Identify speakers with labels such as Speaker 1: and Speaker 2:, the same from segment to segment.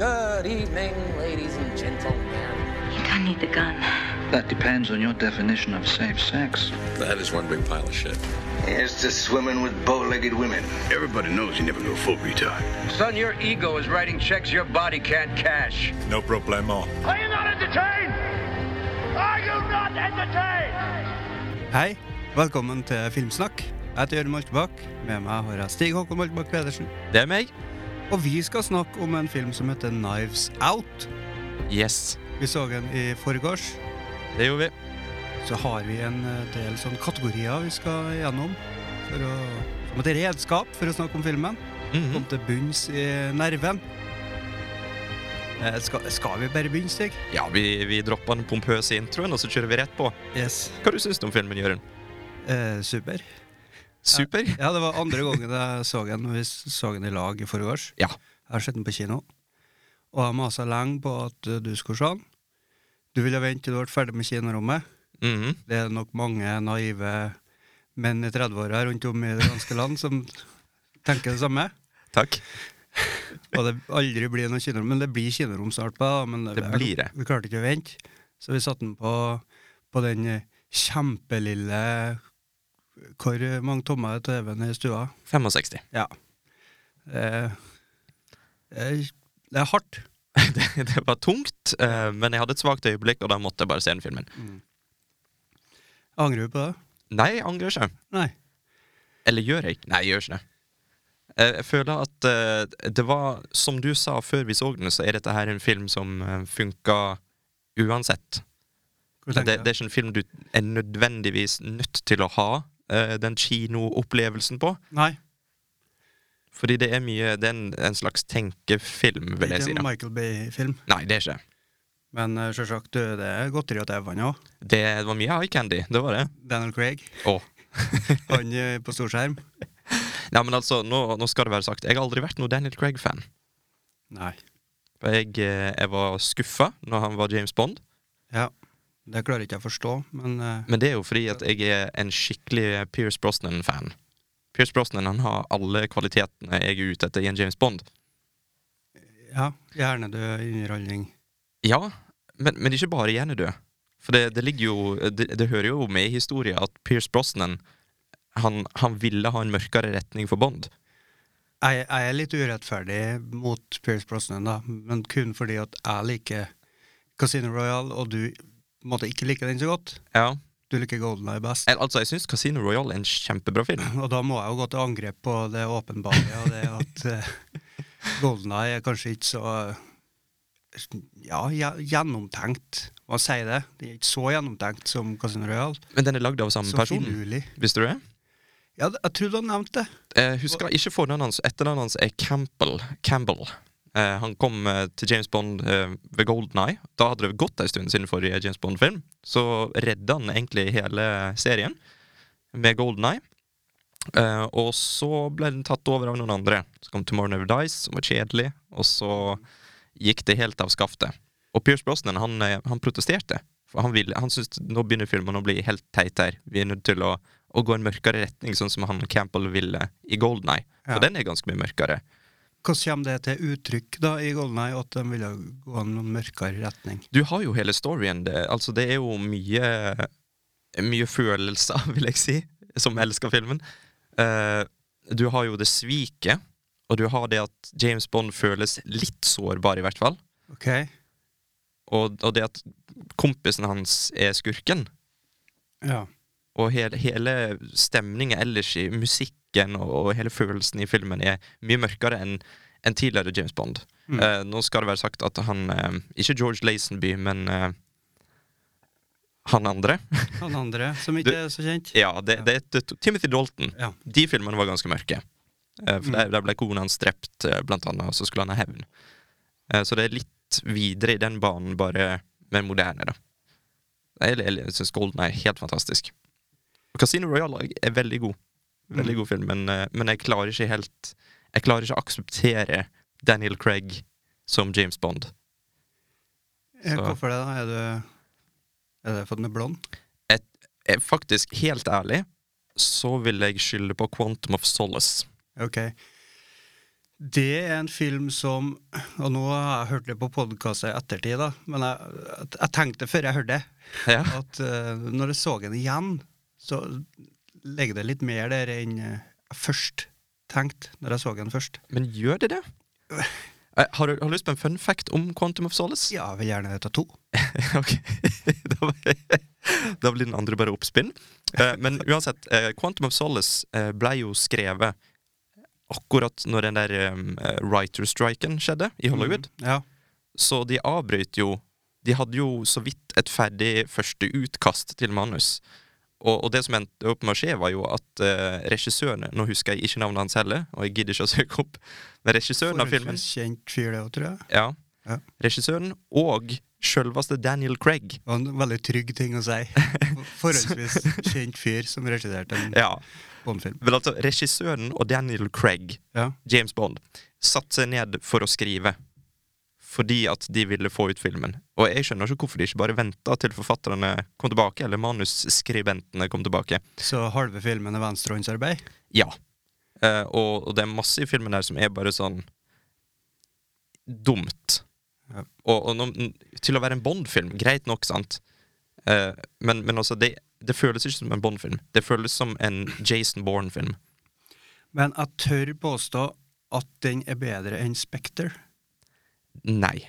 Speaker 1: Good evening, ladies and gentlemen.
Speaker 2: I think I need the gun.
Speaker 3: That depends on your definition of safe sex.
Speaker 4: That is one big pile of shit.
Speaker 5: Here's to swimming with bow-legged women.
Speaker 6: Everybody knows you never go full retard.
Speaker 7: Son, your ego is writing checks your body can't cash.
Speaker 8: No problemo.
Speaker 9: Are you not entertained? Are you not entertained?
Speaker 10: Hei, velkommen til Filmsnakk. Jeg heter Jørgen Moltebakk. Med meg har jeg Stig Håkon Moltebakk Pedersen.
Speaker 11: Det er meg.
Speaker 10: Og vi skal snakke om en film som heter Knives Out.
Speaker 11: Yes.
Speaker 10: Vi så den i forgårs.
Speaker 11: Det gjorde vi.
Speaker 10: Så har vi en eh, del sånn kategorier vi skal gjennom for å, som et redskap for å snakke om filmen. Kom til bunns i nerven. Eh, Skal, skal vi bare begynne, Stig?
Speaker 11: Ja, vi, vi droppa den pompøse introen, og så kjører vi rett på.
Speaker 10: Yes.
Speaker 11: Hva du syns du om filmen, Jørund?
Speaker 10: Eh, super.
Speaker 11: Super?
Speaker 10: Ja, det var andre gangen jeg så den. og Vi så den i lag i forgårs.
Speaker 11: Ja.
Speaker 10: Jeg har sett den på kino. Og jeg masa lenge på at eh, du skulle se den. Du ville vente til du ble ferdig med kinorommet.
Speaker 11: Mhm.
Speaker 10: Det er nok mange naive menn i 30-åra rundt om i det ganske land som tenker det samme.
Speaker 11: Takk.
Speaker 10: Og det aldri blir noe kinorom. Men det blir kinorom snart på det. da, Men
Speaker 11: Det blir det.
Speaker 10: Vi klarte ikke å vente. Så vi satte den på, på den eh, kjempelille Hvor mange tommer er TV-en i stua?
Speaker 11: 65.
Speaker 10: Ja. Eh, eh, det er hardt.
Speaker 11: Det, det var tungt, eh, men jeg hadde et svakt øyeblikk, og da måtte jeg bare se den filmen.
Speaker 10: Angrer du på det?
Speaker 11: Nei, jeg angrer ikke.
Speaker 10: Nei.
Speaker 11: Eller gjør jeg? Nei, jeg gjør ikke det. Eh, Jeg føler at eh, det var Som du sa før vi så den, så er dette her en film som eh, funka uansett.
Speaker 10: Hva
Speaker 11: Det,
Speaker 10: tenker
Speaker 11: det
Speaker 10: du?
Speaker 11: er ikke en film du er nødvendigvis nødt til å ha eh, den kinoopplevelsen på.
Speaker 10: Nei.
Speaker 11: Fordi det er mye Det er en, en slags tenkefilm,
Speaker 10: Det
Speaker 11: vil
Speaker 10: er
Speaker 11: jeg si.
Speaker 10: ikke en
Speaker 11: da
Speaker 10: Michael Bay-film.
Speaker 11: Nei, det er ikke det.
Speaker 10: Men uh, selvsagt, du, det er godteri og tauvann òg.
Speaker 11: Det var mye eye candy, det var det.
Speaker 10: Daniel Craig.
Speaker 11: Åh.
Speaker 10: Han eh, på storskjerm.
Speaker 11: Nei, men altså, nå, nå skal det være sagt, jeg har aldri vært noen Daniel Craig-fan.
Speaker 10: Nei.
Speaker 11: For Jeg, eh, jeg var skuffa når han var James Bond,
Speaker 10: Ja. Det klarer ikke jeg å forstå, men eh,
Speaker 11: men det er jo fordi at jeg er en skikkelig Pierce Brosnan-fan. Pierce Brosnan han har alle kvalitetene jeg er ute etter i en James Bond.
Speaker 10: ja. Hjernedød underholdning.
Speaker 11: Ja, men, men ikke bare hjernedød. For det, det ligger jo det, det hører jo med i historien at Pierce Brosnan han, han ville ha en mørkere retning for Bond.
Speaker 10: Jeg, jeg er litt urettferdig mot Pierce Brosnan, da, men kun fordi at jeg liker Casino Royale, og du på en måte ikke liker den så godt.
Speaker 11: Ja.
Speaker 10: Du liker Golden Eye best.
Speaker 11: Eller, altså, jeg syns Casino Royale er en kjempebra film.
Speaker 10: Og da må jeg jo gå til angrep på det åpenbare, og det at eh, Golden Eye er kanskje ikke så eh, ja, gje- gjennomtenkt. Hva sier det? Det er ikke så gjennomtenkt som Casino Royale.
Speaker 11: Men den er lagd av samme
Speaker 10: Så
Speaker 11: person.
Speaker 10: finurlig.
Speaker 11: Visste du det?
Speaker 10: Ja, det- jeg trodde han nevnte det.
Speaker 11: Eh, husker ikke fornavnet hans. Etternavnet hans er Campbell. Campbell. Eh, han kom eh, til James Bond eh, ved Golden Eye. Da hadde det gått en stund siden forrige James Bond-film. Så redda han egentlig hele serien med Golden Eye. Eh, og så ble den tatt over av noen andre. Så kom Tomorrow Never Dies, som var kjedelig. Og så gikk det helt av skaftet. Og Pierce Brosnan han, eh, han protesterte. For han, ville, han syntes nå begynner filmen å bli helt teit her. Vi er nødt til å, å gå en mørkere retning, sånn som han Campbell ville i Golden Eye. For
Speaker 10: Ja.
Speaker 11: den er ganske mye mørkere.
Speaker 10: Hvordan kommer det til uttrykk da i Golden Eye at de ville gå en noen mørkere retning?
Speaker 11: Du har jo hele storyen. Det, altså, det er jo mye Mye følelser, vil jeg si, som elsker filmen. Eh, du har jo det sviket, og du har det at James Bond føles litt sårbar, i hvert fall.
Speaker 10: Ok,
Speaker 11: Og, og det at kompisen hans er skurken.
Speaker 10: ja.
Speaker 11: Og hele, hele stemningen ellers i musikken og, og hele følelsen i filmen er mye mørkere enn enn tidligere James Bond.
Speaker 10: Mm.
Speaker 11: Eh, nå skal det være sagt at han eh, Ikke George Lazenby, men eh, han andre.
Speaker 10: Han andre som
Speaker 11: Du-
Speaker 10: ikke er så kjent?
Speaker 11: ja, det, det, er t- Timothy Dalton.
Speaker 10: Ja.
Speaker 11: De filmene var ganske mørke. Eh, for der, der ble kona hans drept, eh, blant annet, og så skulle han ha hevn. Eh, så det er litt videre i den banen, bare mer moderne, da. Jeg, jeg, jeg syns Golden er helt fantastisk. Og Casino Royale er veldig god. Veldig god film, men, eh, men jeg klarer ikke helt Jeg klarer ikke å akseptere Daniel Craig som James Bond.
Speaker 10: Eh,
Speaker 11: så-
Speaker 10: Hvorfor det, da? Er du, er det for at den er blond?
Speaker 11: Et, eh, faktisk, helt ærlig, så vil jeg skylde på Quantum of Solace.
Speaker 10: Ok. Det er en film som Og nå har jeg hørt det på podkast i ettertid, da, men jeg, jeg- jeg tenkte før jeg hørte det,
Speaker 11: Ja.
Speaker 10: at eh, når jeg så den igjen, så ligger det litt mer der enn eh, jeg først tenkte når jeg så den først.
Speaker 11: Men gjør det det? Eh, Har du, har du lyst på en fun fact om Quantum of Solace?
Speaker 10: Ja, jeg vil gjerne ta to.
Speaker 11: ok. da, blir- da blir den andre bare oppspinn. Eh, men uansett, eh, Quantum of Solace eh, ble jo skrevet akkurat når den der eh, writer-striken skjedde i Hollywood.
Speaker 10: Mm. Ja.
Speaker 11: Så de avbrøt jo De hadde jo så vidt et ferdig første utkast til manus. Og, og det som endte opp med å skje, var jo at eh, regissøren Nå husker jeg ikke navnet hans heller, og jeg gidder ikke å søke opp, men regissøren av filmen
Speaker 10: Forholdsvis kjent fyr, det òg, tror jeg.
Speaker 11: ja.
Speaker 10: Ja.
Speaker 11: Regissøren og sjølveste Daniel Craig.
Speaker 10: Og en veldig trygg ting å si. Forholdsvis kjent fyr som regisserte en
Speaker 11: Ja.
Speaker 10: Bond-film.
Speaker 11: Vel, altså, regissøren og Daniel Craig,
Speaker 10: Ja.
Speaker 11: James Bond, satte seg ned for å skrive. Fordi at de ville få ut filmen. Og jeg skjønner ikke hvorfor de ikke bare venta til forfatterne kom tilbake, eller manusskribentene kom tilbake.
Speaker 10: Så halve filmen er venstrehåndsarbeid.
Speaker 11: Ja. Eh, og, og det er masse i filmen der som er bare sånn dumt.
Speaker 10: Ja.
Speaker 11: Og, og nå- til å være en Bond-film, greit nok, sant? Eh, men, men altså, det, det føles ikke som en Bond-film. Det føles som en Jason Bourne-film.
Speaker 10: Men jeg tør påstå at den er bedre enn Spekter.
Speaker 11: Nei.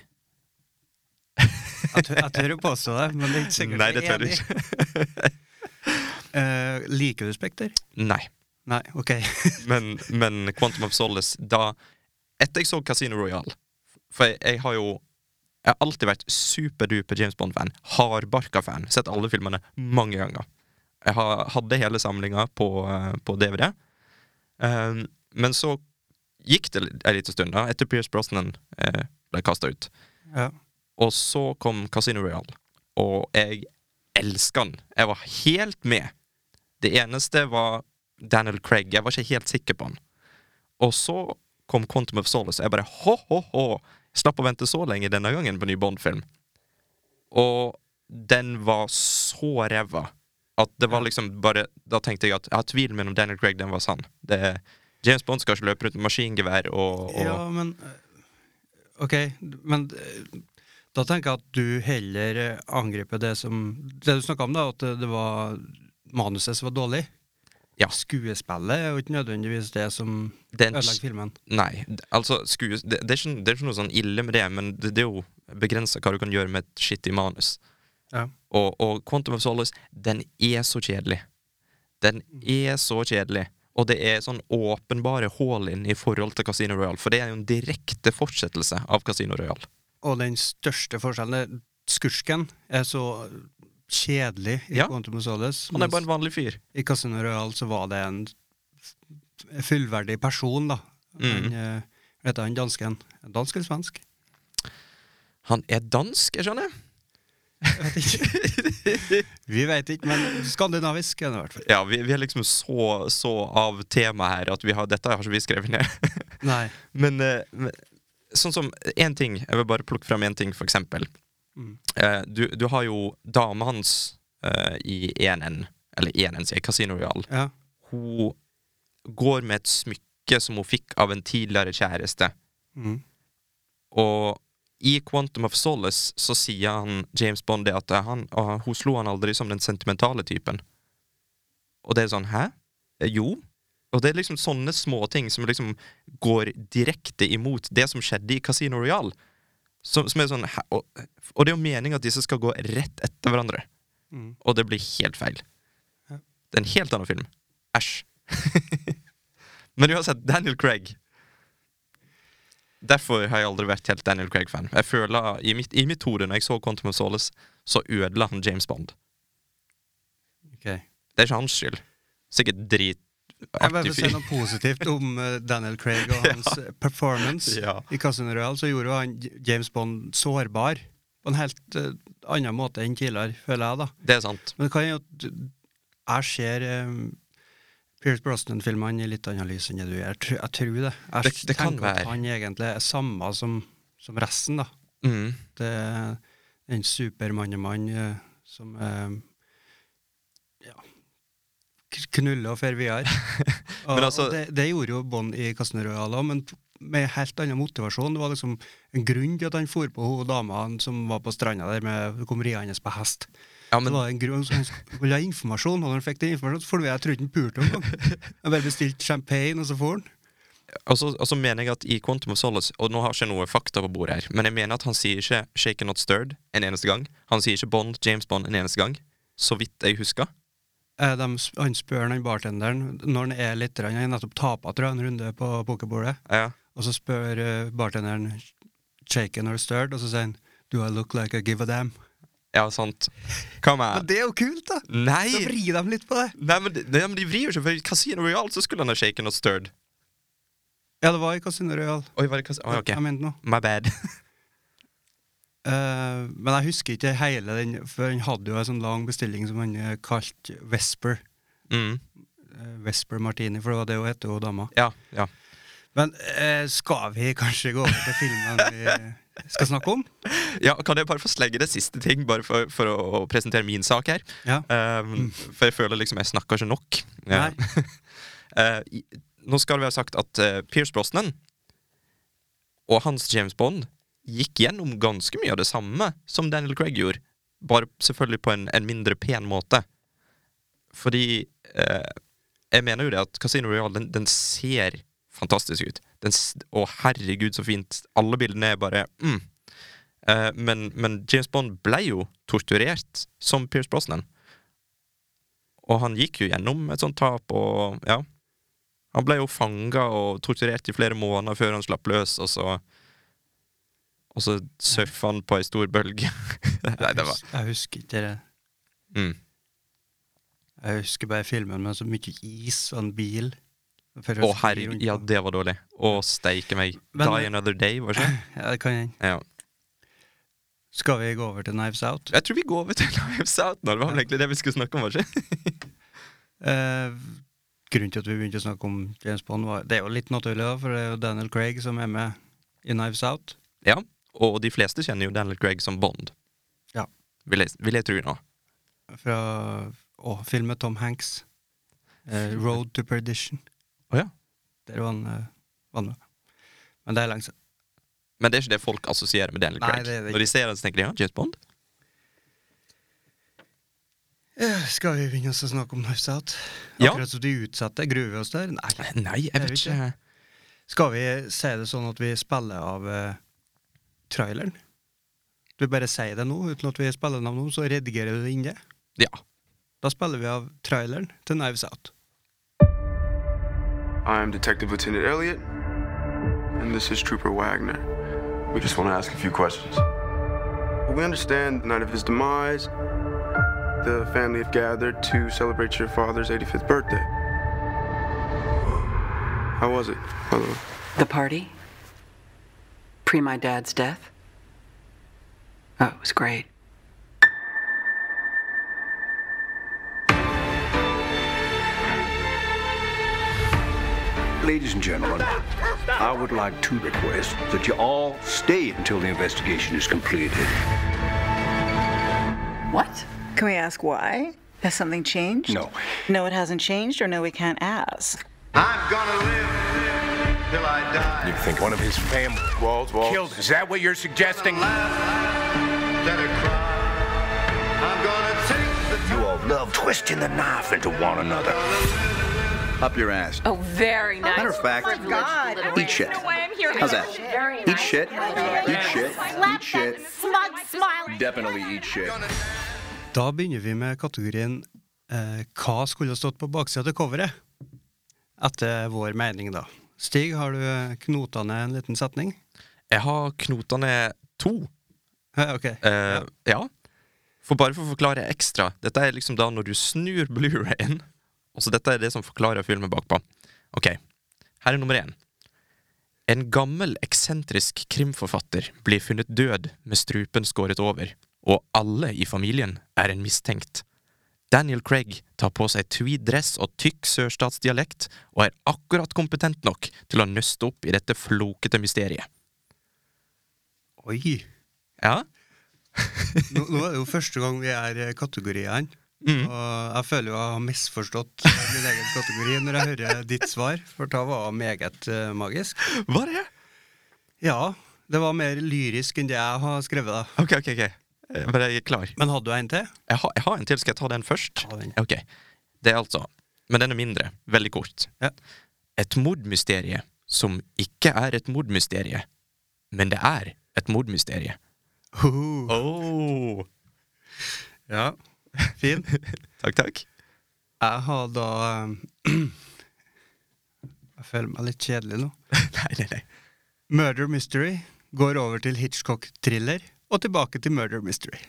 Speaker 10: Jeg tør, jeg tør å påstå det, men det er ikke sikkert
Speaker 11: Nei, det
Speaker 10: jeg er
Speaker 11: tør du
Speaker 10: enig.
Speaker 11: ikke.
Speaker 10: Eh, liker du Spekter?
Speaker 11: Nei.
Speaker 10: Nei, OK.
Speaker 11: Men, men Quantum of Solace da, Etter jeg så Casino Royale For jeg, jeg har jo Jeg har alltid vært superduper James Bond-fan Hardbarka-fan Sett alle filmene mange ganger Jeg har, hadde hele samlinga på, eh, på DVD Ehm, Men så gikk det li- en liten stund da Etter Pierce Brosnan eh, ble kastet ut
Speaker 10: Ja.
Speaker 11: Og så kom Casino Royale Og jeg elsker den Jeg var helt med Det eneste var Daniel Craig Jeg var ikke helt sikker på han Og så kom Quantum of Solace Og jeg bare hå hå hå Slapp å vente så lenge denne gangen på ny Bond-film Og den var så revva At det var liksom bare Da tenkte jeg at Jeg har tvil mellom Daniel Craig Den var sann det, James Bond skal ikke løpe rundt med maskingevær og, og
Speaker 10: ja, men eh, OK, men eh, da tenker jeg at du heller eh, angriper det som Det du snakka om, da, at eh, det var manuset som var dårlig.
Speaker 11: Ja.
Speaker 10: Skuespillet er jo ikke nødvendigvis det som
Speaker 11: Den-
Speaker 10: ødelegger filmen.
Speaker 11: Nei, d- altså skues, det, det, er ikke, det er ikke noe sånn ille med det, men det, det er jo begrensa hva du kan gjøre med et skittig manus.
Speaker 10: Ja.
Speaker 11: Og, og Quantum of Solace, den er så kjedelig. Den er så kjedelig. Og det er sånn åpenbare hull inn i forhold til Casino Royal, for det er jo en direkte fortsettelse av Casino Royal.
Speaker 10: Og den største forskjellen er Skursken er så kjedelig i
Speaker 11: Ja.
Speaker 10: Quantum of Solace.
Speaker 11: Han er
Speaker 10: mens-
Speaker 11: bare en vanlig fyr.
Speaker 10: I Casino Royale så var det en f- fullverdig person, da.
Speaker 11: Mm.
Speaker 10: Han, eh, vet du, han dansken. Dansk eller svensk?
Speaker 11: Han er dansk, jeg skjønner.
Speaker 10: Jeg vet ikke. Vi vet ikke, men skandinavisk er det i hvert fall.
Speaker 11: Ja, vi, vi er liksom så, så av temaet her at vi har, dette har ikke vi skrevet ned.
Speaker 10: Nei.
Speaker 11: Men, eh, men sånn som én ting Jeg vil bare plukke fram én ting, for eksempel. Eh, du, du har jo dama hans eh, i 1N, eller 1N, sier jeg, Casino Royal.
Speaker 10: Ja.
Speaker 11: Hun går med et smykke som hun fikk av en tidligere kjæreste.
Speaker 10: Mm.
Speaker 11: Og i Quantum of Solace så sier han James Bond det at eh, han, og hun slo han aldri som den sentimentale typen. Og det er sånn Hæ? Eh, Jo. Og det er liksom sånne små ting som liksom går direkte imot det som skjedde i Casino Royal. Som, som er sånn hæ? Og, og det er jo meninga at disse skal gå rett etter hverandre.
Speaker 10: Mm.
Speaker 11: Og det blir helt feil.
Speaker 10: Ja.
Speaker 11: Det er en helt annen film. Æsj. Men uansett, Daniel Craig Derfor har jeg aldri vært helt Daniel Craig-fan. Jeg føler, I mitt, i mitt hode, når jeg så Quantum of Solace, så ødela han James Bond.
Speaker 10: Okay.
Speaker 11: Det er ikke hans skyld. Sikkert
Speaker 10: Jeg bare
Speaker 11: dritartig
Speaker 10: vil si
Speaker 11: fyr.
Speaker 10: noe positivt om eh, Daniel Craig og hans eh, performance.
Speaker 11: Ja.
Speaker 10: I Casino Royale så gjorde jo han J- James Bond sårbar på en helt eh, annen måte enn tidligere, føler jeg, da.
Speaker 11: Det er sant.
Speaker 10: Men det kan jo Jeg ser um, Pierce Brosnan-filmene i litt annen lys enn det du gjør. Jeg tr- Jeg tror det. Jeg
Speaker 11: Det- det kan
Speaker 10: tenker at
Speaker 11: være.
Speaker 10: han egentlig er samme som, som resten, da.
Speaker 11: Mm.
Speaker 10: Det er eh, en supermannemann eh, som eh, ja, k- knuller og fer videre. Og,
Speaker 11: Men altså-
Speaker 10: og det, det gjorde jo Bond i Casino Royale òg, men med helt annen motivasjon. Det var liksom en grunn til at han for på hun dama som var på stranda der med kom riende på hest.
Speaker 11: Ja,
Speaker 10: Det
Speaker 11: men
Speaker 10: var en grunn som Han ville ha informasjon, og når han fikk den informasjonen, så for jeg trodde han pulte om gang. Han bare bestilte champagne, og så får han.
Speaker 11: Og så, og så mener jeg at i Quantum of Solace Og nå har jeg ikke noe fakta på bordet her, men jeg mener at han sier ikke Shaken Not Stirred en eneste gang. Han sier ikke Bond, James Bond en eneste gang. Så vidt jeg husker.
Speaker 10: Eh, dem sp- Han spør den bartenderen, når han er litt Han har nettopp tapa, tror jeg, en runde på pokerbordet,
Speaker 11: Ja.
Speaker 10: og så spør eh, bartenderen shaken or stirred, og så sier han Do I look like I give a damn?
Speaker 11: ja, sant. Come
Speaker 10: Men
Speaker 11: on.
Speaker 10: det er jo kult, da! Da
Speaker 11: Nei!
Speaker 10: vrir de litt på det.
Speaker 11: Nei, men de, nei, men de vrir jo ikke, for i Casino Royale så skulle han ha Shaken Not Stirred.
Speaker 10: Ja, det var i Casino Royal.
Speaker 11: Oi, var det Casino Oi, ok.
Speaker 10: Jeg mente noe.
Speaker 11: My bad.
Speaker 10: Eh, men jeg husker ikke hele den, for han hadde jo en sånn lang bestilling som han eh, kalte Vesper.
Speaker 11: Mm.
Speaker 10: Eh, Vesper Martini, for det var det hun het, hun dama.
Speaker 11: Ja, ja.
Speaker 10: Men eh, skal vi kanskje gå over til filmen vi eh, skal snakke om?
Speaker 11: Ja, Kan jeg bare få slegge det siste ting, bare for, for å, å presentere min sak her?
Speaker 10: Ja. Mm.
Speaker 11: Um, for jeg føler liksom jeg snakker ikke nok.
Speaker 10: Nei.
Speaker 11: Eh, i- nå skal vi ha sagt at eh, Pierce Brosnan og hans James Bond gikk gjennom ganske mye av det samme som Daniel Craig gjorde, bare selvfølgelig på en, en mindre pen måte. Fordi eh, jeg mener jo det at Casino Royale, den, den ser fantastisk ut. Den, s- å, herregud, så fint. Alle bildene er bare mm. Eh, men, men James Bond ble jo torturert som Pierce Brosnan. Og han gikk jo gjennom et sånt tap, og ja Han ble jo fanga og torturert i flere måneder før han slapp løs, og så Og så surfa han på ei stor bølge. Nei, det var
Speaker 10: Jeg hus- Jeg husker ikke det.
Speaker 11: mm.
Speaker 10: Jeg husker bare filmen med så mye is og en bil. For å
Speaker 11: Å,
Speaker 10: skli
Speaker 11: herregud,
Speaker 10: rundt
Speaker 11: ja,
Speaker 10: på.
Speaker 11: det var dårlig. Å, steike meg.
Speaker 10: Men-
Speaker 11: Die another day, var det ikke?
Speaker 10: ja, det kan hende.
Speaker 11: Ja.
Speaker 10: Skal vi gå over til Knives Out?
Speaker 11: Jeg tror vi går over til Lives Out nå. Det var vel egentlig det vi skulle snakke om, var det ikke?
Speaker 10: Eh, grunnen til at vi begynte å snakke om James Bond, var Det er jo litt naturlig, da, for det er jo Daniel Craig som er med i Knives Out.
Speaker 11: Ja, og de fleste kjenner jo Daniel Craig som Bond.
Speaker 10: Ja.
Speaker 11: Vil jeg, vil jeg tro nå.
Speaker 10: Fra å, filmen Tom Hanks. Eh, Road to Perdition.
Speaker 11: Å ja.
Speaker 10: Der var han, eh, var han med. Men det er lenge siden.
Speaker 11: Men det er ikke det folk assosierer med Daniel
Speaker 10: Nei,
Speaker 11: Craig.
Speaker 10: det er det
Speaker 11: Når de ser han, så tenker de ja, James Bond.
Speaker 10: Eh, Skal vi begynne oss å snakke om Knives Out?
Speaker 11: Ja.
Speaker 10: Akkurat som de utsatte. Gruer vi oss der? Nei.
Speaker 11: Nei, jeg
Speaker 10: Jeg
Speaker 11: vet
Speaker 10: vet
Speaker 11: ikke.
Speaker 10: Skal vi si det sånn at vi spiller av eh, traileren? Du bare sier det nå, uten at vi spiller den av nå, så redigerer du det inn det.
Speaker 11: Ja.
Speaker 10: Da spiller vi av traileren til Knives Out.
Speaker 2: I am Detective Lieutenant Elliot, and this is Trooper Wagner. We just want to ask a few questions. We understand the night of his demise, the family have gathered to celebrate your father's 85th birthday. How was it, by the way?
Speaker 4: The party? Pre my dad's death? Oh, it was great.
Speaker 6: Ladies and gentlemen, I would like to request that you all stay until the investigation is completed.
Speaker 4: What?
Speaker 8: Can we ask why? Has something changed?
Speaker 6: No.
Speaker 8: No, it hasn't changed, or no, we can't ask.
Speaker 5: I'm gonna live till I die.
Speaker 6: You think one of his family
Speaker 2: Walls, walls.
Speaker 6: Is that what you're suggesting? You all love twisting the knife into one another.
Speaker 5: Up your ass.
Speaker 4: Oh, very nice.
Speaker 5: Matter of fact,
Speaker 8: Oh
Speaker 5: eat shit. How's that? Eat shit. Eat shit. Eat shit.
Speaker 4: Smug smile.
Speaker 5: Definitely eat shit.
Speaker 10: Da begynner vi med kategorien eh, Hva skulle ha stått på baksida til coveret? Etter vår mening, da. Stig, har du eh, knota ned en liten setning?
Speaker 11: Jeg har knotene to.
Speaker 10: Ja, ok.
Speaker 11: Eh, ja. For bare for å forklare ekstra Dette er liksom da når du snur Blu-rayen Og så dette er det som forklarer filmen bakpå Ok, her er nummer én En gammel, eksentrisk krimforfatter Blir funnet død med strupen skåret over Og alle i familien er en mistenkt Daniel Craig tar på seg tweed dress og tykk sørstatsdialekt Og er akkurat kompetent nok til å nøste opp i dette flokete mysteriet
Speaker 10: Oi!
Speaker 11: Ja?
Speaker 10: Nå, nå er det jo første gang vi er i kategoriene. Mm. Og jeg føler jo jeg har misforstått min egen kategori når jeg hører ditt svar, for da var det meget eh, magisk.
Speaker 11: Hva er det?
Speaker 10: Ja, det var mer lyrisk enn det jeg har skrevet. da
Speaker 11: Ok, ok, ok Eh, Bare jeg er klar.
Speaker 10: Men hadde du en til?
Speaker 11: Jeg har, jeg har en til. Skal jeg ta den først? Ok. Det er altså Men den er mindre. Veldig kort. Et mordmysterie som ikke er et mordmysterie, men det er et mordmysterie. Oh.
Speaker 10: Ja, fin.
Speaker 11: takk, takk.
Speaker 10: Jeg har da eh, Jeg føler meg litt kjedelig nå.
Speaker 11: nei, nei, nei.
Speaker 10: Murder mystery går over til Hitchcock-thriller og tilbake til murder mystery.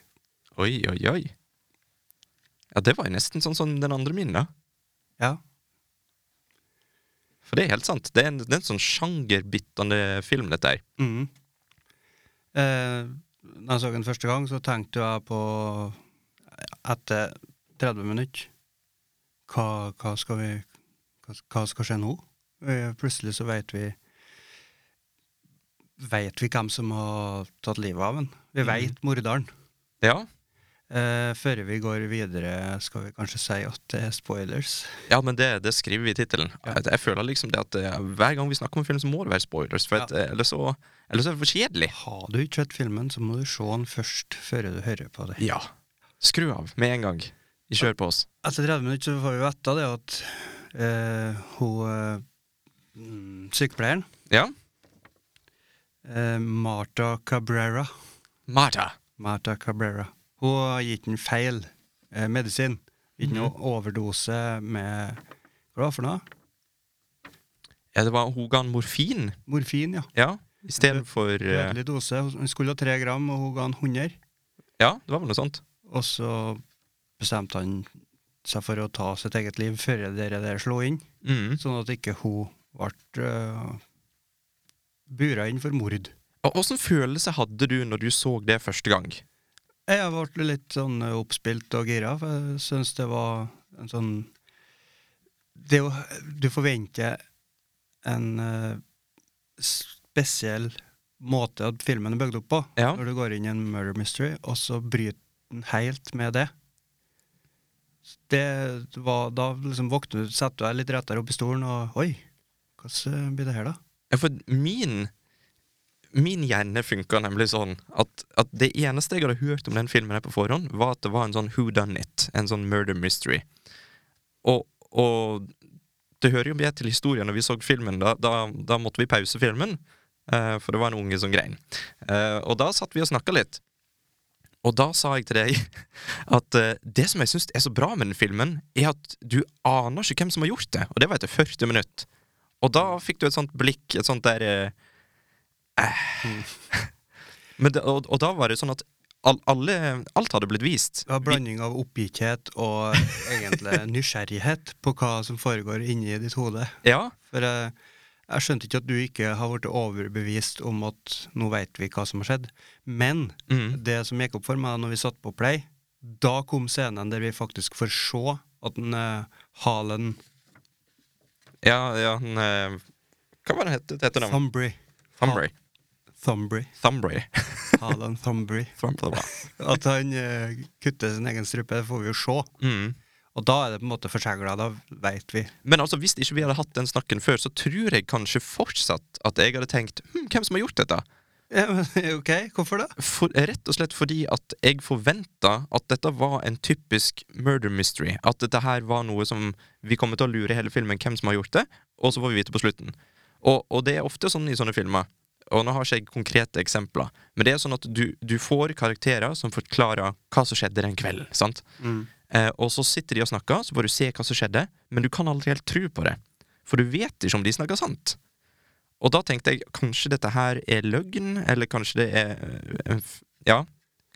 Speaker 11: Oi, oi, oi. Ja, det var jo nesten sånn som den andre min, da.
Speaker 10: Ja.
Speaker 11: For det er helt sant. Det er en, det er en sånn sjangerbittende film, dette her.
Speaker 10: Mm. Eh, da jeg så den første gang, så tenkte jeg på Etter 30 minutter hva, hva skal vi hva, hva skal skje nå? Eh, Plutselig så vet vi Vet vi hvem som har tatt livet av den. Vi vet morderen.
Speaker 11: Ja.
Speaker 10: Eh, før vi går videre, skal vi kanskje si at det er spoilers.
Speaker 11: Ja, men det, det skriver vi i tittelen. Jeg- Jeg føler liksom det at eh, hver gang vi snakker om film, så må det være spoilers. For at, eh, ellers, så, ellers er det for kjedelig.
Speaker 10: Har du ikke sett filmen, så må du se den først, før du hører på det.
Speaker 11: Ja. Skru av med en gang. Vi kjører på oss.
Speaker 10: Etter 30 minutter så får vi vite det at eh, hun eh, mm, sykepleieren,
Speaker 11: Ja?
Speaker 10: eh, Marta Cabrera
Speaker 11: Marta.
Speaker 10: Marta Cabrera Hun har gitt en feil eh, medisin. Gitt en overdose med Hva var det for noe?
Speaker 11: Ja, det var hun ga han morfin.
Speaker 10: Morfin, ja.
Speaker 11: Ja. Istedenfor uh,
Speaker 10: Dødelig dose. Hun skulle ha tre gram, og hun ga han 100.
Speaker 11: Ja, det var vel noe sånt.
Speaker 10: Og så bestemte han seg for å ta sitt eget liv før det der slo inn,
Speaker 11: Mhm.
Speaker 10: sånn at ikke hun ble uh, bura inn for mord.
Speaker 11: Og Åssen følelse hadde du når du så det første gang?
Speaker 10: Jeg ble litt sånn eh, oppspilt og gira, for jeg syns det var en sånn Det å Du forventer en eh, spesiell måte at filmen er bygd opp på,
Speaker 11: Ja.
Speaker 10: når du går inn i en murder mystery, og så bryter den helt med det. Det var, Da liksom våkner du, setter du deg litt rettere opp i stolen, og Oi, hvordan eh, blir det her, da?
Speaker 11: Ja, for min Min hjerne funka nemlig sånn at, at det eneste jeg hadde hørt om den filmen her på forhånd, var at det var en sånn who done it, en sånn murder mystery. Og, og det hører jo med til historien når vi så filmen, da, da, da måtte vi pause filmen, eh, for det var en unge som grein. Eh, og da satt vi og snakka litt. Og da sa jeg til deg at eh, det som jeg syns er så bra med den filmen, er at du aner ikke hvem som har gjort det. Og det var etter 40 minutter. Og da fikk du et sånt blikk, et sånt der eh, Men det, og, og da var det sånn at all, alle, alt hadde blitt vist.
Speaker 10: Det var blanding av oppgitthet og eh, egentlig nysgjerrighet på hva som foregår inni ditt hode.
Speaker 11: Ja,
Speaker 10: For jeg, jeg skjønte ikke at du ikke har blitt overbevist om at nå veit vi hva som har skjedd. Men
Speaker 11: Mm.
Speaker 10: det som gikk opp for meg når vi satt på play, da kom scenen der vi faktisk får se at den, eh, Halen
Speaker 11: ja, ja han, eh, Hva var det het- het heter han?
Speaker 10: Thumbry
Speaker 11: Thumbray.
Speaker 10: Thumbry.
Speaker 11: Thumbray.
Speaker 10: Halen Thumbry.
Speaker 11: Thumbray.
Speaker 10: At han eh, kutter sin egen strupe, det får vi jo se.
Speaker 11: Mm.
Speaker 10: Og da er det på en måte forsegla, da veit vi.
Speaker 11: Men altså, hvis ikke vi hadde hatt den snakken før, så tror jeg kanskje fortsatt at jeg hadde tenkt hm, hvem som har gjort dette?
Speaker 10: Ja, men, OK, hvorfor det?
Speaker 11: For, rett og slett fordi at jeg forventa at dette var en typisk murder mystery. At dette her var noe som vi kommer til å lure i hele filmen hvem som har gjort det, og så får vi vite på slutten. Og, og det er ofte sånn i sånne filmer. Og nå har ikke jeg konkrete eksempler, men det er sånn at du, du får karakterer som forklarer hva som skjedde den kvelden. sant? Eh, og så sitter de og snakker, så får du se hva som skjedde, men du kan aldri helt tro på det. For du vet ikke om de snakker sant. Og da tenkte jeg kanskje dette her er løgn, eller kanskje det er eh, f- Ja,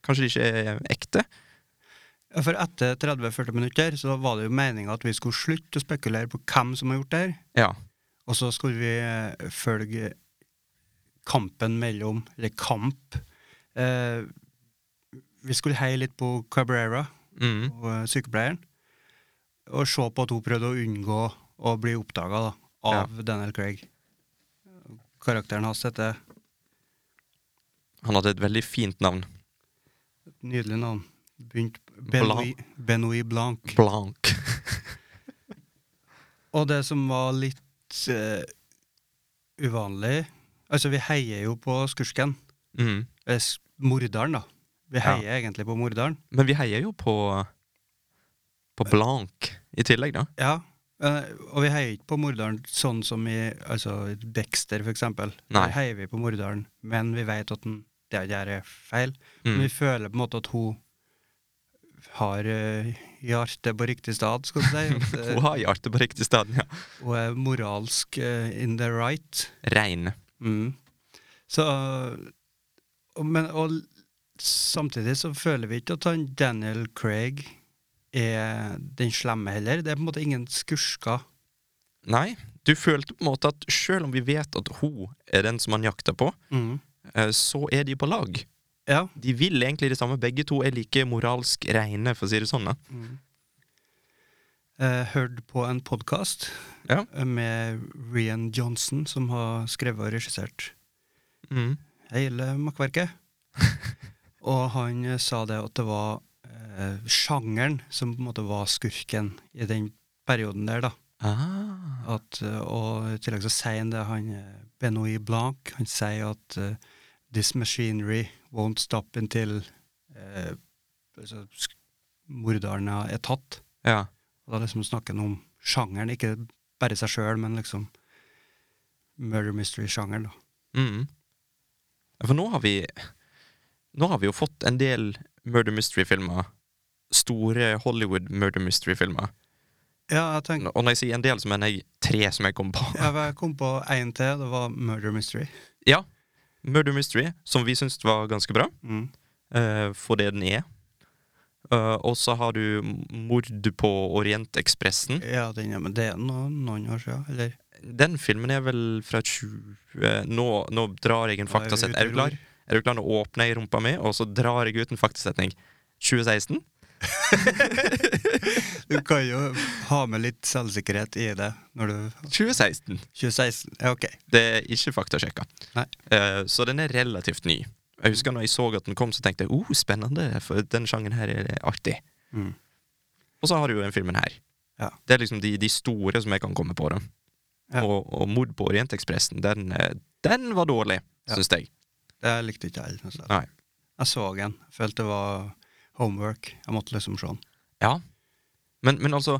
Speaker 11: kanskje det ikke er ekte.
Speaker 10: Ja, For etter 30-40 minutter så var det jo meninga at vi skulle slutte å spekulere på hvem som har gjort det her,
Speaker 11: Ja.
Speaker 10: og så skulle vi eh, følge kampen mellom Eller kamp. Eh, vi skulle heie litt på Cabrera,
Speaker 11: Mm.
Speaker 10: og, eh, sykepleieren, og se på at hun prøvde å unngå å bli oppdaga av Daniel Craig. Karakteren hans heter et
Speaker 11: Han hadde et veldig fint navn.
Speaker 10: nydelig navn. Begynt
Speaker 11: Blanc.
Speaker 10: Benoit, Benoit Blanc.
Speaker 11: Blank.
Speaker 10: Og det som var litt eh, uvanlig, Altså, vi heier jo på skurken.
Speaker 11: Mm.
Speaker 10: Eh, s- Morderen, da. Vi
Speaker 11: Ja.
Speaker 10: heier egentlig på morderen.
Speaker 11: Men vi heier jo på På Blank i tillegg, da.
Speaker 10: Ja, eh, og vi heier ikke på morderen sånn som i altså, Dexter, for eksempel.
Speaker 11: Nei.
Speaker 10: Der heier vi på morderen, men vi vet at den, det han gjør, er feil.
Speaker 11: Mm.
Speaker 10: Men vi føler på en måte at hun har eh, hjertet på riktig sted, skal du si. At, eh,
Speaker 11: Hun har hjertet på riktig sted. Ja.
Speaker 10: Hun er moralsk eh, in the right.
Speaker 11: Rein.
Speaker 10: Mm. Så og- Men og l- samtidig så føler vi ikke at han Daniel Craig er den slemme heller. Det er på en måte ingen skurker.
Speaker 11: Nei, du følte på en måte at selv om vi vet at hun er den som han jakter på,
Speaker 10: Mm.
Speaker 11: eh, så er de på lag.
Speaker 10: Ja.
Speaker 11: De vil egentlig det samme. Begge to er like moralsk reine, for å si det sånn. da.
Speaker 10: Eh, hørt på en podkast
Speaker 11: Ja.
Speaker 10: med Rian Johnson, som har skrevet og regissert
Speaker 11: Mm.
Speaker 10: hele makkverket. og han eh, sa det at det var eh, sjangeren som på en måte var skurken i den perioden der, da.
Speaker 11: Ah.
Speaker 10: At, eh, og i tillegg så sier han det, han eh, Benoit Blanc, han sier at eh, this machinery won't stop until eh, altså, sk- morderen er tatt.
Speaker 11: Ja.
Speaker 10: Og da liksom snakker han om sjangeren, ikke bare seg sjøl, men liksom murder mystery-sjangeren, da.
Speaker 11: Mm. For nå har vi Nå har vi jo fått en del murder mystery-filmer. Store Hollywood murder mystery-filmer.
Speaker 10: Ja, jeg tenker
Speaker 11: Og når jeg sier en del, så mener jeg tre som jeg kom på.
Speaker 10: Jeg var- kom på én til, det var murder mystery.
Speaker 11: Ja. Murder Mystery, som vi syns var ganske bra,
Speaker 10: Mm.
Speaker 11: eh, for det den er. Eh, og så har du Mord på Orientekspressen.
Speaker 10: Ja, den, ja, men det er noe, noen år siden, eller?
Speaker 11: Den filmen er vel fra 20 eh, nå, nå drar jeg en
Speaker 10: Nå er vi
Speaker 11: faktasetning.
Speaker 10: ute
Speaker 11: Er du
Speaker 10: og
Speaker 11: klar?
Speaker 10: ror.
Speaker 11: Er du klar? Nå åpner jeg rumpa mi, og så drar jeg ut en faktasetning. 2016.
Speaker 10: Du kan jo ha med litt selvsikkerhet i det når du
Speaker 11: 2016.
Speaker 10: 2016. Ja, OK.
Speaker 11: Det er ikke faktasjekka.
Speaker 10: Nei.
Speaker 11: Eh, så den er relativt ny. Jeg husker når jeg så at den kom, så tenkte jeg oh, spennende, for den sjangen her er artig.
Speaker 10: Mm.
Speaker 11: Og så har du jo den filmen her.
Speaker 10: Ja.
Speaker 11: Det er liksom de, de store som jeg kan komme på. Da.
Speaker 10: Ja.
Speaker 11: Og, og Mord på Orientekspressen, den, eh, den var dårlig,
Speaker 10: Ja.
Speaker 11: syns jeg.
Speaker 10: Det likte ikke jeg. Altså.
Speaker 11: Nei.
Speaker 10: Jeg så den. Følte det var homework. Jeg måtte liksom se den.
Speaker 11: Ja. Men, men altså,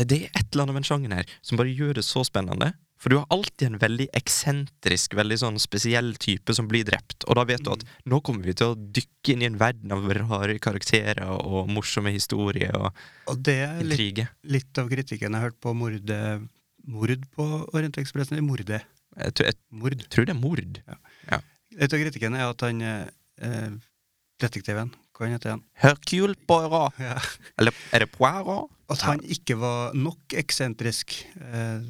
Speaker 11: det er et eller annet med den sjangen her som bare gjør det så spennende. For du har alltid en veldig eksentrisk, veldig sånn spesiell type som blir drept. Og da vet du at
Speaker 10: Mm.
Speaker 11: nå kommer vi til å dykke inn i en verden av rare karakterer og morsomme historier og
Speaker 10: Og det er litt,
Speaker 11: intriger.
Speaker 10: litt av kritikken jeg hørte på mordet Mord på Orientekspressen. eller Mordet.
Speaker 11: Jeg, tror- jeg
Speaker 10: Mord.
Speaker 11: tror det er mord.
Speaker 10: Litt av kritikken er at han eh, eh, detektiven, hva han heter han?
Speaker 11: Hercule Poirot.
Speaker 10: Ja.
Speaker 11: Eller er det Poirot?
Speaker 10: At han ikke var nok eksentrisk. Eh,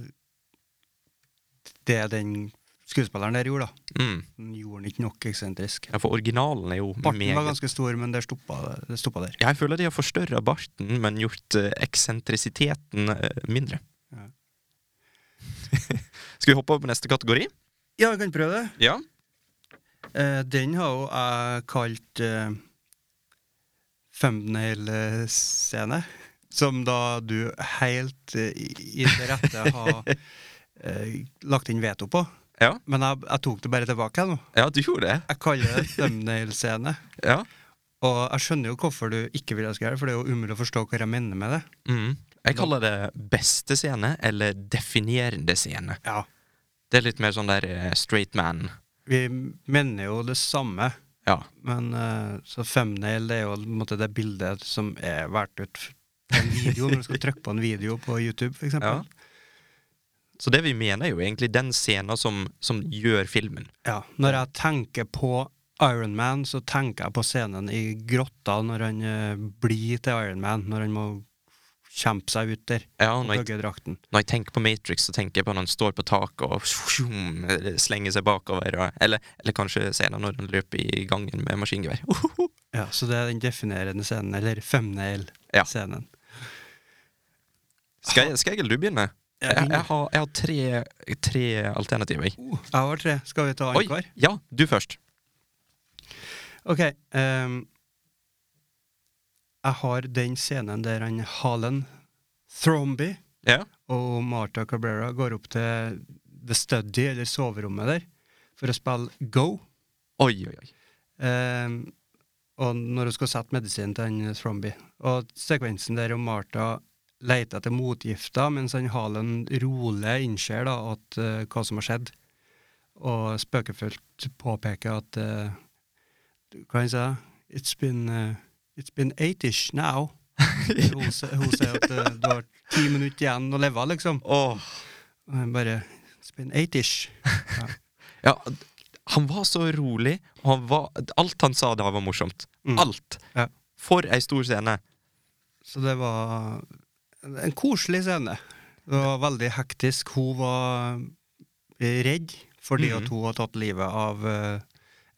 Speaker 10: det den skuespilleren der gjorde, da.
Speaker 11: Mm.
Speaker 10: Han gjorde han ikke nok eksentrisk.
Speaker 11: Ja, for originalen er jo
Speaker 10: Barten var
Speaker 11: meget
Speaker 10: ganske stor, men det stoppa, det- det stoppa der.
Speaker 11: Jeg føler de har forstørra barten, men gjort eh, eksentrisiteten eh, mindre.
Speaker 10: Ja.
Speaker 11: Skal vi hoppe over på neste kategori?
Speaker 10: Ja, vi kan prøve det.
Speaker 11: Ja.
Speaker 10: Eh, den har jo jeg kalt eh, thumbnail-scene. Som da du helt eh, i i det rette har eh, lagt inn veto på.
Speaker 11: Ja.
Speaker 10: Men jeg, jeg tok det bare tilbake nå.
Speaker 11: Ja, du gjorde det.
Speaker 10: Jeg kaller det thumbnail-scene.
Speaker 11: Ja.
Speaker 10: Og jeg skjønner jo hvorfor du ikke vil jeg skal gjøre det, for det er jo umulig å forstå hva jeg mener med det.
Speaker 11: Mm. Jeg kaller det beste scene, eller definerende scene.
Speaker 10: Ja.
Speaker 11: Det er litt mer sånn der eh, straight man.
Speaker 10: Vi mener jo det samme,
Speaker 11: Ja.
Speaker 10: men eh, så thumbnail det er jo på en måte det bildet som er valgt ut på en video, når du skal trykke på en video på YouTube,
Speaker 11: ja.
Speaker 10: for eksempel.
Speaker 11: Så det vi mener, er jo egentlig den scenen som, som gjør filmen.
Speaker 10: Ja. Når jeg tenker på Iron Man, så tenker jeg på scenen i grotta når han eh, blir til Iron Man, når han må kjempe seg ut der
Speaker 11: Ja,
Speaker 10: og
Speaker 11: når jeg,
Speaker 10: plugge drakten.
Speaker 11: når jeg tenker på Matrix, så tenker jeg på når han står på taket og shum, slenger seg bakover. og- Eller, eller kanskje scenen når han løper i gangen med maskingevær. Uhuhu.
Speaker 10: Ja, så det er den definerende scenen, eller
Speaker 11: Ja.
Speaker 10: thumbnail-scenen.
Speaker 11: Skal jeg, skal jeg eller du begynne? Jeg, jeg, har, jeg har tre, tre alternativer. jeg.
Speaker 10: Oh, jeg har tre. Skal vi ta
Speaker 11: Oi!
Speaker 10: annenhver?
Speaker 11: Ja, du først.
Speaker 10: Ok. ehm, jeg har den scenen der han Halen Thromby
Speaker 11: Ja.
Speaker 10: og Marta Cabrera går opp til The Study, eller soverommet der, for å spille Go.
Speaker 11: Oi, oi, oi.
Speaker 10: Eh, og når hun skal sette medisinen til han Thromby. Og sekvensen der om Martha leter etter motgifter, mens han Halen rolig innser da, at, eh, hva som har skjedd, og spøkefullt påpeker at eh, Hva han sier It's been, eh, it's been eight-ish now. hun, sier- hun sier at eh, du har ti minutter igjen å leve, liksom. Og han bare It's been eight-ish. Ja.
Speaker 11: Ja, han var så rolig, og han var, alt han sa da, var morsomt. Alt! For ei stor scene.
Speaker 10: Så det var en en koselig scene. Det var veldig hektisk. Hun var eh, redd fordi
Speaker 11: Mhm.
Speaker 10: at hun hadde tatt livet av eh,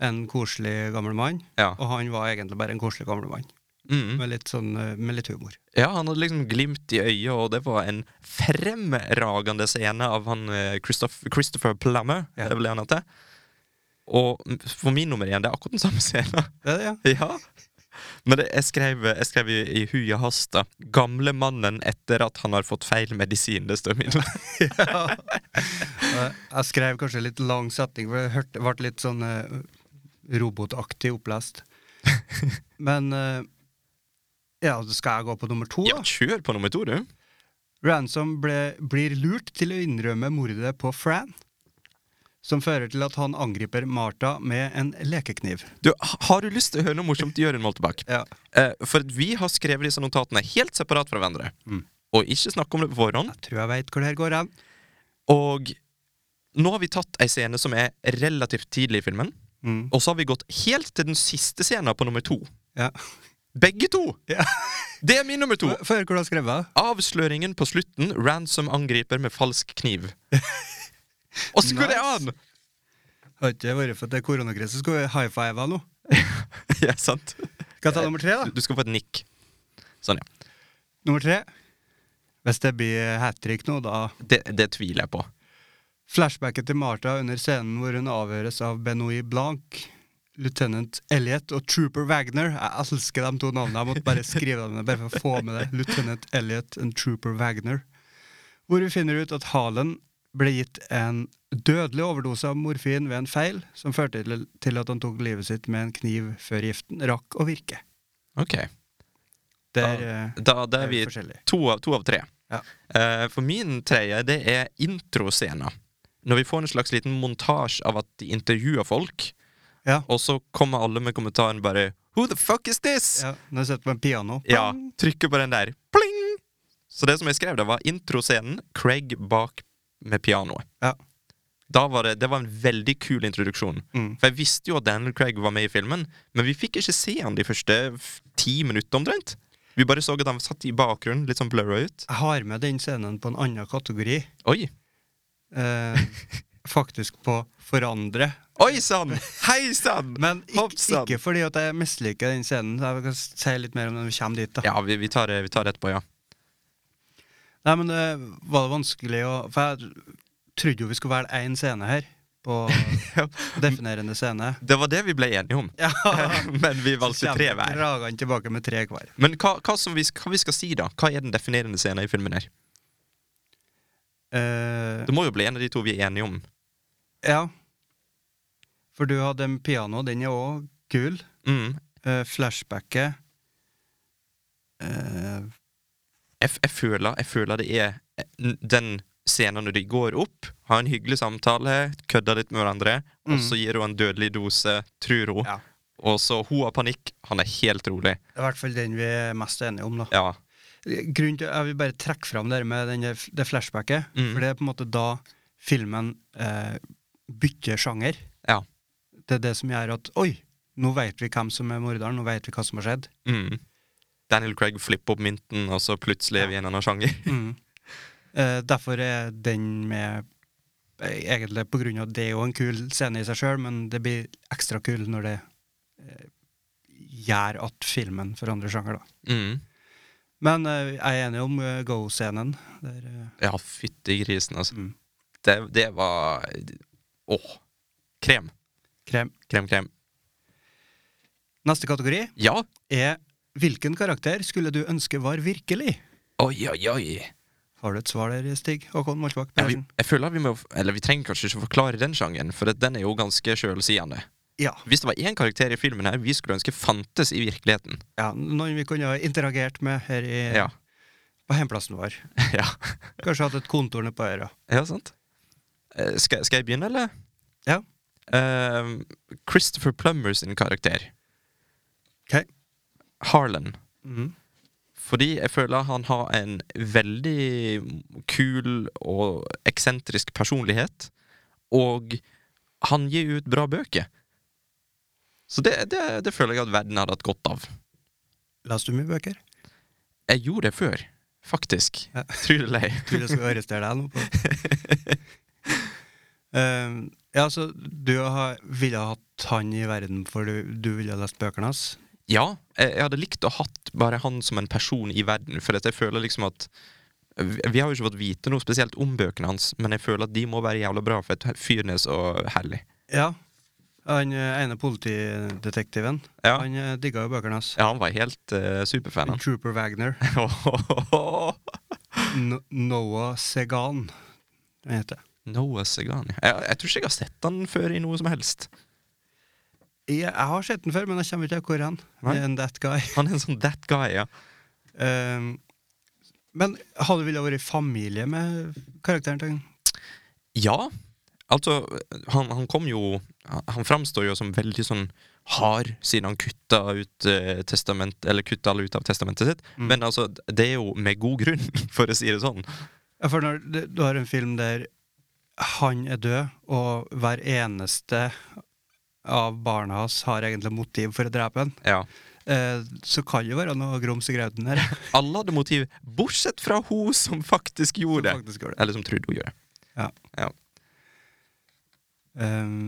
Speaker 10: en koselig gammel mann.
Speaker 11: Ja.
Speaker 10: Og han var egentlig bare en koselig gammel mann.
Speaker 11: Mhm.
Speaker 10: Med, litt sånn, eh, med litt humor.
Speaker 11: Ja, han hadde liksom glimt i øyet, og det var en fremragende scene av han eh, Christoph, Christopher Plummer, det er vel det han heter. Og m- for min nummer én, det er akkurat den samme scenen.
Speaker 10: Det er
Speaker 11: det, ja. Men det, jeg skrev, jeg skrev i, i hui og hast da, 'Gamle mannen etter at han har fått feil medisin'. Det står i min.
Speaker 10: Eh, Jeg skrev kanskje litt lang setning, for jeg hørte, ble litt sånn eh, robotaktig opplest. Men eh, ja, skal jeg gå på nummer to, da?
Speaker 11: Ja, kjør på nummer to, du.
Speaker 10: Ransom ble, blir lurt til å innrømme mordet på Fran, som fører til at han angriper Martha med en lekekniv.
Speaker 11: Du, ha- Har du lyst til å høre noe morsomt, Jørund Moltebakk? Eh, for at vi har skrevet disse notatene helt separat fra hverandre. Og ikke snakk om det på forhånd. Jeg
Speaker 10: tror jeg veit hvor det her går hen.
Speaker 11: Og nå har vi tatt ei scene som er relativt tidlig i filmen.
Speaker 10: Mm.
Speaker 11: Og så har vi gått helt til den siste scenen på nummer to.
Speaker 10: Ja.
Speaker 11: Begge to! Det er min nummer to.
Speaker 10: Før hvor du har skrevet?
Speaker 11: Avsløringen på slutten. Ransom angriper med falsk kniv. Åssen går det an?!
Speaker 10: Har ikke det vært for at det er koronakrise, skulle vi high five nå.
Speaker 11: ja, sant.
Speaker 10: Skal jeg ta nummer tre, da?
Speaker 11: Du, du skal få et nikk. Sånn, ja.
Speaker 10: Nummer tre. Hvis det blir hat trick nå, da
Speaker 11: Det, det tviler jeg på.
Speaker 10: Flashbacket til Martha under scenen hvor hun avhøres av Benoit Blanc, løytnant Elliot og Trooper Wagner. Jeg elsker de to navnene. Jeg måtte bare skrive dem ned bare for å få med det. Løytnant Elliot og Trooper Wagner. Hvor vi finner ut at Halen ble gitt en dødelig overdose av morfin ved en feil, som førte til- til at han tok livet sitt med en kniv før giften rakk å virke.
Speaker 11: Ok.
Speaker 10: Der, eh,
Speaker 11: da, da, da
Speaker 10: er
Speaker 11: er
Speaker 10: vi
Speaker 11: vi
Speaker 10: forskjellige.
Speaker 11: to av, to av tre.
Speaker 10: Ja.
Speaker 11: Eh, for min tredje, det er introscena. Når vi får en slags liten montasje av at de intervjuer folk, og så kommer alle med kommentaren bare Who the fuck is this?!
Speaker 10: Ja, når jeg sitter på en piano.
Speaker 11: Ja, trykker på den der. Pling! Så det som jeg skrev, da var introscenen, Craig bak med pianoet.
Speaker 10: Ja.
Speaker 11: Da var det, det var en veldig kul introduksjon.
Speaker 10: Mm.
Speaker 11: For jeg visste jo at Daniel Craig var med i filmen, men vi fikk ikke se han de første f- ti minuttene omtrent. Vi bare så at han satt i bakgrunnen, litt sånn blurra ut.
Speaker 10: Jeg har med den scenen på en annen kategori.
Speaker 11: Oi!
Speaker 10: Eh, faktisk på forandre.
Speaker 11: Oi sann! Hei sann!
Speaker 10: Men ikke, ikke fordi at jeg misliker den scenen. Jeg kan si litt mer om det når vi kommer dit. da.
Speaker 11: Ja, vi, vi, tar, det- vi tar det etterpå, ja.
Speaker 10: Nei, men det var det vanskelig å For jeg trodde jo vi skulle velge én scene her. På definerende scene.
Speaker 11: Det var det vi ble enige om. men vi valgte tre
Speaker 10: Kommer
Speaker 11: hver.
Speaker 10: Dragene tilbake med tre hver.
Speaker 11: Men hva, hva, som vi, sk- hva vi skal si, da? Hva er den definerende scenen i filmen her?
Speaker 10: Eh,
Speaker 11: Det må jo bli en av de to vi er enige om.
Speaker 10: ja. For du hadde en piano. Den er òg kul.
Speaker 11: Mm.
Speaker 10: Eh, flashbacket eh,
Speaker 11: jeg, f- jeg, føler, jeg føler det er eh, n- den scenen når de går opp, har en hyggelig samtale, kødder litt med hverandre, og så gir hun en dødelig dose, tror hun. Og så hun har panikk, han er helt rolig.
Speaker 10: I hvert fall den vi er mest enige om, da.
Speaker 11: Ja.
Speaker 10: Grunnen til, Jeg vil bare trekke fram det her med den der- det flashbacket,
Speaker 11: Mm.
Speaker 10: for det er på en måte da filmen eh, bytter sjanger.
Speaker 11: Ja.
Speaker 10: Det er det som gjør at Oi, nå vet vi hvem som er morderen, nå vet vi hva som har skjedd.
Speaker 11: Mm. Daniel Craig flipper opp mynten, og så plutselig er vi i en annen sjanger.
Speaker 10: Eh, derfor er den med eh, Egentlig på grunn av at det er jo en kul scene i seg sjøl, men det blir ekstra kul når det eh, gjør at filmen forandrer sjanger, da.
Speaker 11: Mm.
Speaker 10: Men eh, jeg er enig om eh, Go-scenen. Der eh,
Speaker 11: Ja, fytti grisen, altså. Det, det var Åh. Krem.
Speaker 10: Krem.
Speaker 11: Krem, krem.
Speaker 10: Neste kategori
Speaker 11: Ja.
Speaker 10: er Hvilken karakter skulle du ønske var virkelig?
Speaker 11: Oi, oi, oi.
Speaker 10: Har du et svar der, Stig Håkon Moltbakk
Speaker 11: Ja, vi,
Speaker 10: Pedersen?
Speaker 11: jeg føler vi må Eller vi trenger kanskje ikke forklare den sjangen, for at den er jo ganske sjølsigende.
Speaker 10: Ja.
Speaker 11: Hvis det var én karakter i filmen her vi skulle ønske fantes i virkeligheten
Speaker 10: Ja, noen vi kunne ha interagert med her i,
Speaker 11: Ja.
Speaker 10: på hjemplassen vår.
Speaker 11: Ja,
Speaker 10: Kanskje hatt et kontor nede på øra.
Speaker 11: ja sant? Eh, Skal, skal jeg begynne, eller?
Speaker 10: Ja.
Speaker 11: Eh, Christopher Plummer sin karakter.
Speaker 10: Ok.
Speaker 11: Harlan.
Speaker 10: Mhm.
Speaker 11: Fordi jeg føler han har en veldig kul og eksentrisk personlighet. Og han gir ut bra bøker. Så det, det, det føler jeg at verden hadde hatt godt av.
Speaker 10: Leste du mye bøker?
Speaker 11: Jeg gjorde det før, faktisk.
Speaker 10: Ja.
Speaker 11: Tror det eller ei.
Speaker 10: Tror jeg skal arrestere deg nå. På. Ehm, ja, så du har, ville ha hatt han i verden, for du, du ville ha lest bøkene hans?
Speaker 11: Ja, jeg, jeg hadde likt å hatt bare han som en person i verden, for at jeg føler liksom at vi vi har jo ikke fått vite noe spesielt om bøkene hans, men jeg føler at de må være jævla bra, for at fyren er så herlig.
Speaker 10: Ja. Han eh, ene politidetektiven,
Speaker 11: Ja.
Speaker 10: han eh, digga jo bøkene hans.
Speaker 11: Ja, han var helt eh, superfan, han.
Speaker 10: Trooper Wagner. No Noah Segan, han heter.
Speaker 11: Noah Segan. ja. Jeg, jeg tror ikke jeg har sett han før i noe som helst.
Speaker 10: Jeg, jeg har sett den før, men jeg kommer ikke til hvor han
Speaker 11: Nei.
Speaker 10: er. En that guy.
Speaker 11: Han er en sånn that guy, ja.
Speaker 10: Ehm, men hadde du villet vært i familie med karakteren til han?
Speaker 11: Ja. Altså, han, han kom jo Han framstår jo som veldig sånn hard, siden han kutta ut eh, testament Eller kutta alle ut av testamentet sitt.
Speaker 10: Mm.
Speaker 11: Men altså, det er jo med god grunn, for å si det sånn.
Speaker 10: Ja, for når du, du har en film der han er død, og hver eneste av barna hans har egentlig motiv for å drepe han,
Speaker 11: Ja.
Speaker 10: eh, så kan det være noe grums i grauten her.
Speaker 11: Alle hadde motiv, bortsett fra hun som faktisk gjorde det.
Speaker 10: Faktisk gjør det.
Speaker 11: Eller som trodde hun gjorde det.
Speaker 10: Ja.
Speaker 11: Ja.
Speaker 10: Ehm,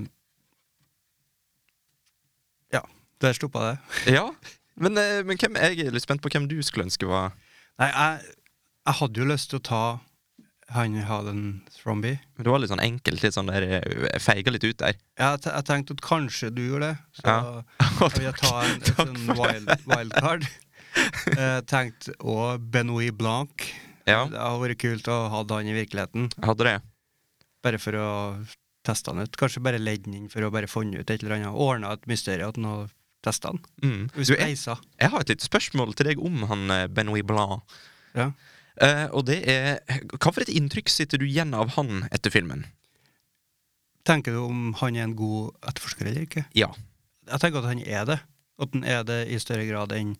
Speaker 10: ja, der stoppa det.
Speaker 11: Ja. Men, eh, men hvem, jeg er litt spent på hvem du skulle ønske var
Speaker 10: Nei, jeg, jeg hadde jo lyst til å ta han Halen Thromby.
Speaker 11: Det var litt sånn enkelt. Litt sånn der, eh, jeg feiga litt ut der.
Speaker 10: Jeg, te- jeg tenkte at kanskje du gjorde det, så
Speaker 11: Ja. Å,
Speaker 10: jeg vil jeg ta en, en
Speaker 11: takk
Speaker 10: sånn
Speaker 11: for det.
Speaker 10: wild, wildcard. Jeg tenkte òg Benoit Blanc.
Speaker 11: Ja,
Speaker 10: Det hadde vært kult å ha han i virkeligheten,
Speaker 11: jeg hadde det.
Speaker 10: bare for å teste han ut. Kanskje bare ledd han inn for å bare funne ut et eller annet, ordna et mysterium at han hadde testa han.
Speaker 11: Mm.
Speaker 10: Hvis
Speaker 11: Du,
Speaker 10: du
Speaker 11: jeg,
Speaker 10: eisa.
Speaker 11: jeg har et lite spørsmål til deg om han eh, Benoit Blanc.
Speaker 10: Ja.
Speaker 11: Eh, og det er Hva for et inntrykk sitter du igjen av han etter filmen?
Speaker 10: Tenker du om han er en god etterforsker eller ikke?
Speaker 11: Ja.
Speaker 10: Jeg tenker at han er det. At han er det i større grad enn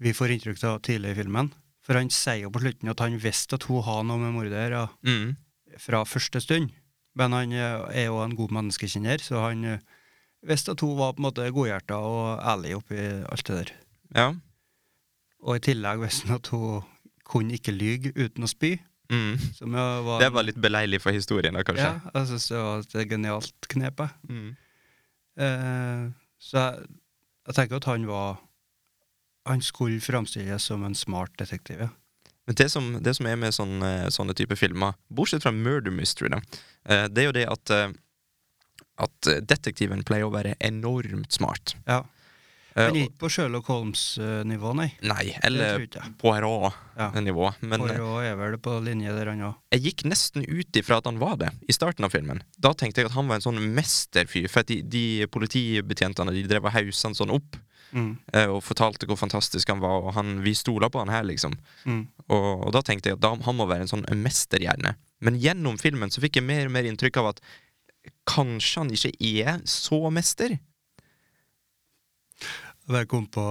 Speaker 10: vi får inntrykk av tidlig i filmen. For han sier jo på slutten at han visste at hun har noe med mordere
Speaker 11: Mm.
Speaker 10: fra første stund. Men han eh, er jo en god menneskekjenner, så han eh, visste at hun var på en måte godhjerta og ærlig oppi alt det der.
Speaker 11: Ja.
Speaker 10: Og i tillegg visste han at hun kunne ikke lyge uten å spy.
Speaker 11: Mm.
Speaker 10: Som jo var
Speaker 11: Det var litt beleilig for historien, da, kanskje.
Speaker 10: Ja, jeg syns det var et genialt knep. jeg.
Speaker 11: Mm.
Speaker 10: Eh, så jeg, jeg tenker at han var Han skulle framstilles som en smart detektiv, ja.
Speaker 11: Men det som, det som er med sånne, sånne type filmer, bortsett fra murder mystery, da, eh, det er jo det at, eh, at detektiven pleier å være enormt smart.
Speaker 10: ja.
Speaker 11: Eh,
Speaker 10: Han er ikke på Sherlock Holmes-nivå, nei.
Speaker 11: og- nei, eller
Speaker 10: Det tror jeg ikke. Ja.
Speaker 11: Poirot-nivå. Men eh,
Speaker 10: Poirot er vel på linje der, han òg.
Speaker 11: jeg gikk nesten ut ifra at han var det i starten av filmen. Da tenkte jeg at han var en sånn mesterfyr, for at de, de politibetjentene de drev og hauset han sånn opp
Speaker 10: Mm.
Speaker 11: eh, og fortalte hvor fantastisk han var, og han, vi stoler på han her, liksom.
Speaker 10: Mm.
Speaker 11: Og, og da tenkte jeg at da, han må være en sånn mesterhjerne. Men gjennom filmen så fikk jeg mer og mer inntrykk av at kanskje han ikke er så mester.
Speaker 10: Jeg kom på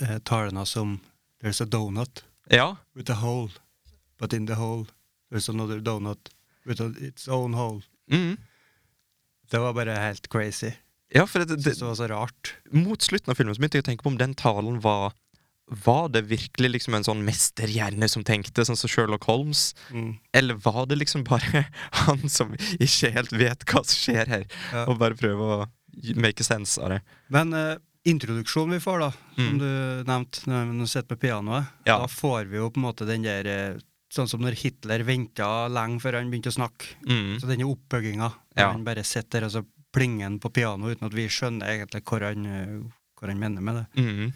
Speaker 10: eh, talene som There's a donut
Speaker 11: Ja,
Speaker 10: with a hole, but in the hole there's another donut with a, its own hole.
Speaker 11: mm.
Speaker 10: Det var bare helt crazy.
Speaker 11: ja for det,
Speaker 10: Jeg
Speaker 11: det,
Speaker 10: synes det var så rart.
Speaker 11: mot slutten av filmen så begynte jeg å tenke på om den talen var Var det virkelig liksom en sånn mesterhjerne som tenkte, sånn som Sherlock Holmes?
Speaker 10: Mm.
Speaker 11: Eller var det liksom bare han som ikke helt vet hva som skjer her,
Speaker 10: Ja.
Speaker 11: og bare prøver å make sense av det?
Speaker 10: Men eh, introduksjonen vi får, da, som
Speaker 11: Mm.
Speaker 10: du nevnte, når vi sitter med pianoet,
Speaker 11: Ja.
Speaker 10: da får vi jo på en måte den der eh, Sånn som når Hitler venta lenge før han begynte å snakke.
Speaker 11: Mm.
Speaker 10: Så denne oppbygginga, når
Speaker 11: Ja.
Speaker 10: han bare sitter der og så plinger han på pianoet uten at vi skjønner egentlig hvor han, eh, hvor han mener med det.
Speaker 11: Mm.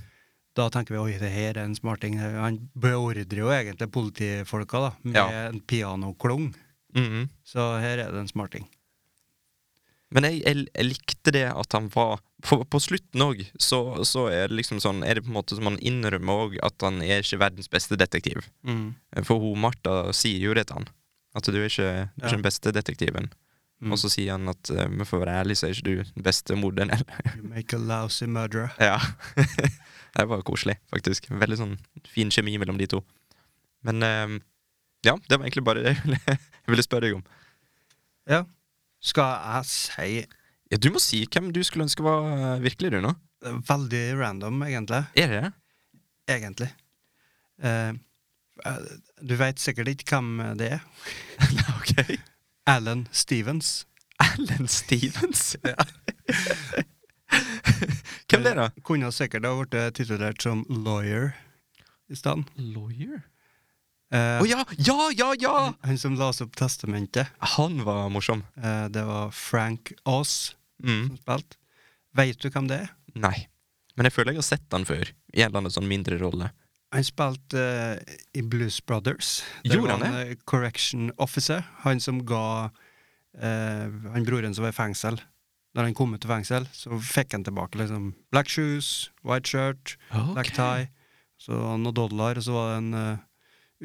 Speaker 10: Da tenker vi oi, det her er en smarting. Han beordrer jo egentlig politifolka da, med
Speaker 11: Ja.
Speaker 10: en pianoklong.
Speaker 11: Mhm.
Speaker 10: Så her er det en smarting.
Speaker 11: Men jeg, jeg, jeg likte det at han var For på slutten òg, så, så er det liksom sånn Er det på en måte som han innrømmer òg at han er ikke verdens beste detektiv.
Speaker 10: Mhm.
Speaker 11: For hun Martha sier jo det til han. At du er ikke, du er ikke den beste detektiven.
Speaker 10: Mhm.
Speaker 11: Og så sier han at eh, men for å være ærlig, så er ikke du den beste morderen heller.
Speaker 10: You make a lousy murderer.
Speaker 11: ja. det var koselig, faktisk. Veldig sånn fin kjemi mellom de to. Men eh, ja, det var egentlig bare det jeg ville, jeg ville spørre deg om.
Speaker 10: Ja. Skal jeg si
Speaker 11: Ja, du må si hvem du skulle ønske var eh, virkelig, du, nå.
Speaker 10: Veldig random, egentlig.
Speaker 11: Er det det?
Speaker 10: Egentlig. Eh, eh, du veit sikkert ikke hvem det er.
Speaker 11: ok.
Speaker 10: Alan Stevens.
Speaker 11: Alan Stevens? Hvem det er da?
Speaker 10: Eh, Kunne sikkert ha blitt eh, titulert som lawyer i stedet.
Speaker 11: Lawyer?
Speaker 10: Å
Speaker 11: Å ja! Ja, ja, ja!
Speaker 10: Han som leste opp testamentet,
Speaker 11: Han var morsom.
Speaker 10: eh, det var Frank Aas
Speaker 11: Mm.
Speaker 10: som spilte. Veit du hvem det er?
Speaker 11: Nei. Men jeg føler jeg har sett han før, i en eller annen sånn mindre rolle.
Speaker 10: Han spilte eh, i Blues Brothers. Der
Speaker 11: Gjorde
Speaker 10: var
Speaker 11: han
Speaker 10: eh, Correction Officer. Han som ga eh, han broren som var i fengsel. Når han kom ut av fengsel, så fikk han tilbake liksom black shoes, white shirt, black tie. Så var det noen dollar, og så var det en eh,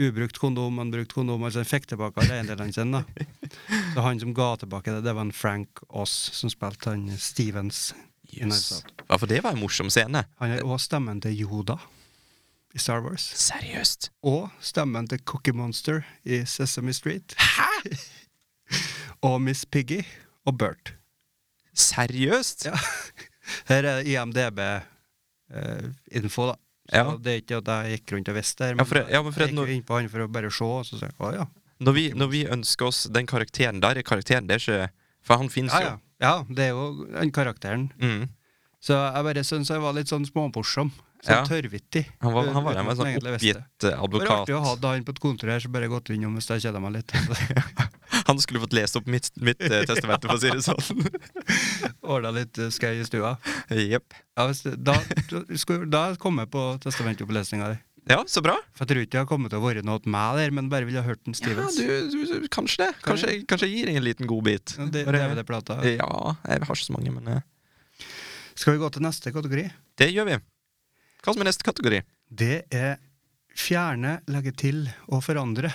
Speaker 10: ubrukt kondom, en brukt kondom. Altså han fikk tilbake alle eiendelene sine. da. Så han som ga tilbake det, det var en Frank Aas som spilte han Stevens. i Knives Out.
Speaker 11: Ja, for det var en morsom scene.
Speaker 10: Han har òg stemmen til Yoda i Star Wars.
Speaker 11: Seriøst?
Speaker 10: og stemmen til Cookie Monster i Sesame Street. og Miss Piggy og Bert.
Speaker 11: Seriøst?
Speaker 10: Ja. Her er IMDb-info, eh, da. Så
Speaker 11: Ja.
Speaker 10: Det er ikke at jeg gikk rundt og visste det, her,
Speaker 11: Ja, for det- ja, men for
Speaker 10: jeg
Speaker 11: det-
Speaker 10: gikk
Speaker 11: når-
Speaker 10: jo inn på han for å bare se, og så sa jeg å ja.
Speaker 11: Når vi, når vi ønsker oss den karakteren der, er karakteren det er ikke For han finnes
Speaker 10: Ja, ja. ja, det er jo den karakteren.
Speaker 11: jo. Mm.
Speaker 10: Så jeg bare syns jeg var litt sånn småmorsom.
Speaker 11: Ja.
Speaker 10: Sånn tørrvittig.
Speaker 11: Han var, han var, han
Speaker 10: uten at
Speaker 11: var en
Speaker 10: jeg
Speaker 11: sånn
Speaker 10: egentlig
Speaker 11: oppgitt
Speaker 10: visste.
Speaker 11: eh,
Speaker 10: Det var
Speaker 11: advokat.
Speaker 10: artig å ha han på et kontor her, så bare gått innom hvis jeg kjeder meg litt.
Speaker 11: Han skulle fått lest opp mitt, mitt eh, testament, for å si det sånn.
Speaker 10: Ordna litt eh, skau i stua.
Speaker 11: Jepp.
Speaker 10: Ja, hvis det, da, da- skulle, da kom jeg på testamentopplesninga di.
Speaker 11: Ja, så bra.
Speaker 10: For jeg tror ikke det har kommet til å være noe til meg der, men bare ville ha hørt den
Speaker 11: Ja,
Speaker 10: Stevens.
Speaker 11: du, du, du, kanskje det. Kanskje, jeg- kanskje jeg gir deg en liten godbit.
Speaker 10: Ja, det,
Speaker 11: Bare-
Speaker 10: det er vel det plata.
Speaker 11: Ja, jeg har ikke så mange, men eh,
Speaker 10: Skal vi gå til neste kategori?
Speaker 11: det gjør vi. Hva som er neste kategori?
Speaker 10: Det er fjerne, legge til og forandre.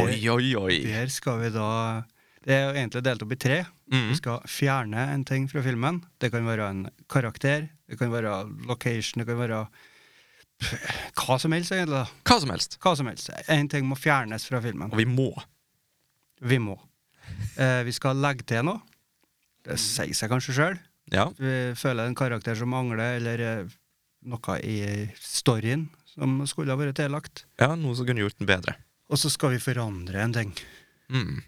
Speaker 11: Oi, oi, oi.
Speaker 10: Der skal vi da Det er jo egentlig delt opp i tre. Vi
Speaker 11: Mm.
Speaker 10: skal fjerne en ting fra filmen. Det kan være en karakter, det kan være location, det kan være pff, hva som helst, egentlig. da.
Speaker 11: Hva som helst.
Speaker 10: Hva som helst. En ting må fjernes fra filmen.
Speaker 11: Og vi må.
Speaker 10: Vi må. Eh, vi skal legge til noe. Det sier seg kanskje sjøl.
Speaker 11: Ja.
Speaker 10: Vi føler en karakter som mangler, eller eh, noe i storyen som skulle ha vært tillagt.
Speaker 11: ja, noe som kunne gjort den bedre.
Speaker 10: Og så skal vi forandre en ting.
Speaker 11: Mm.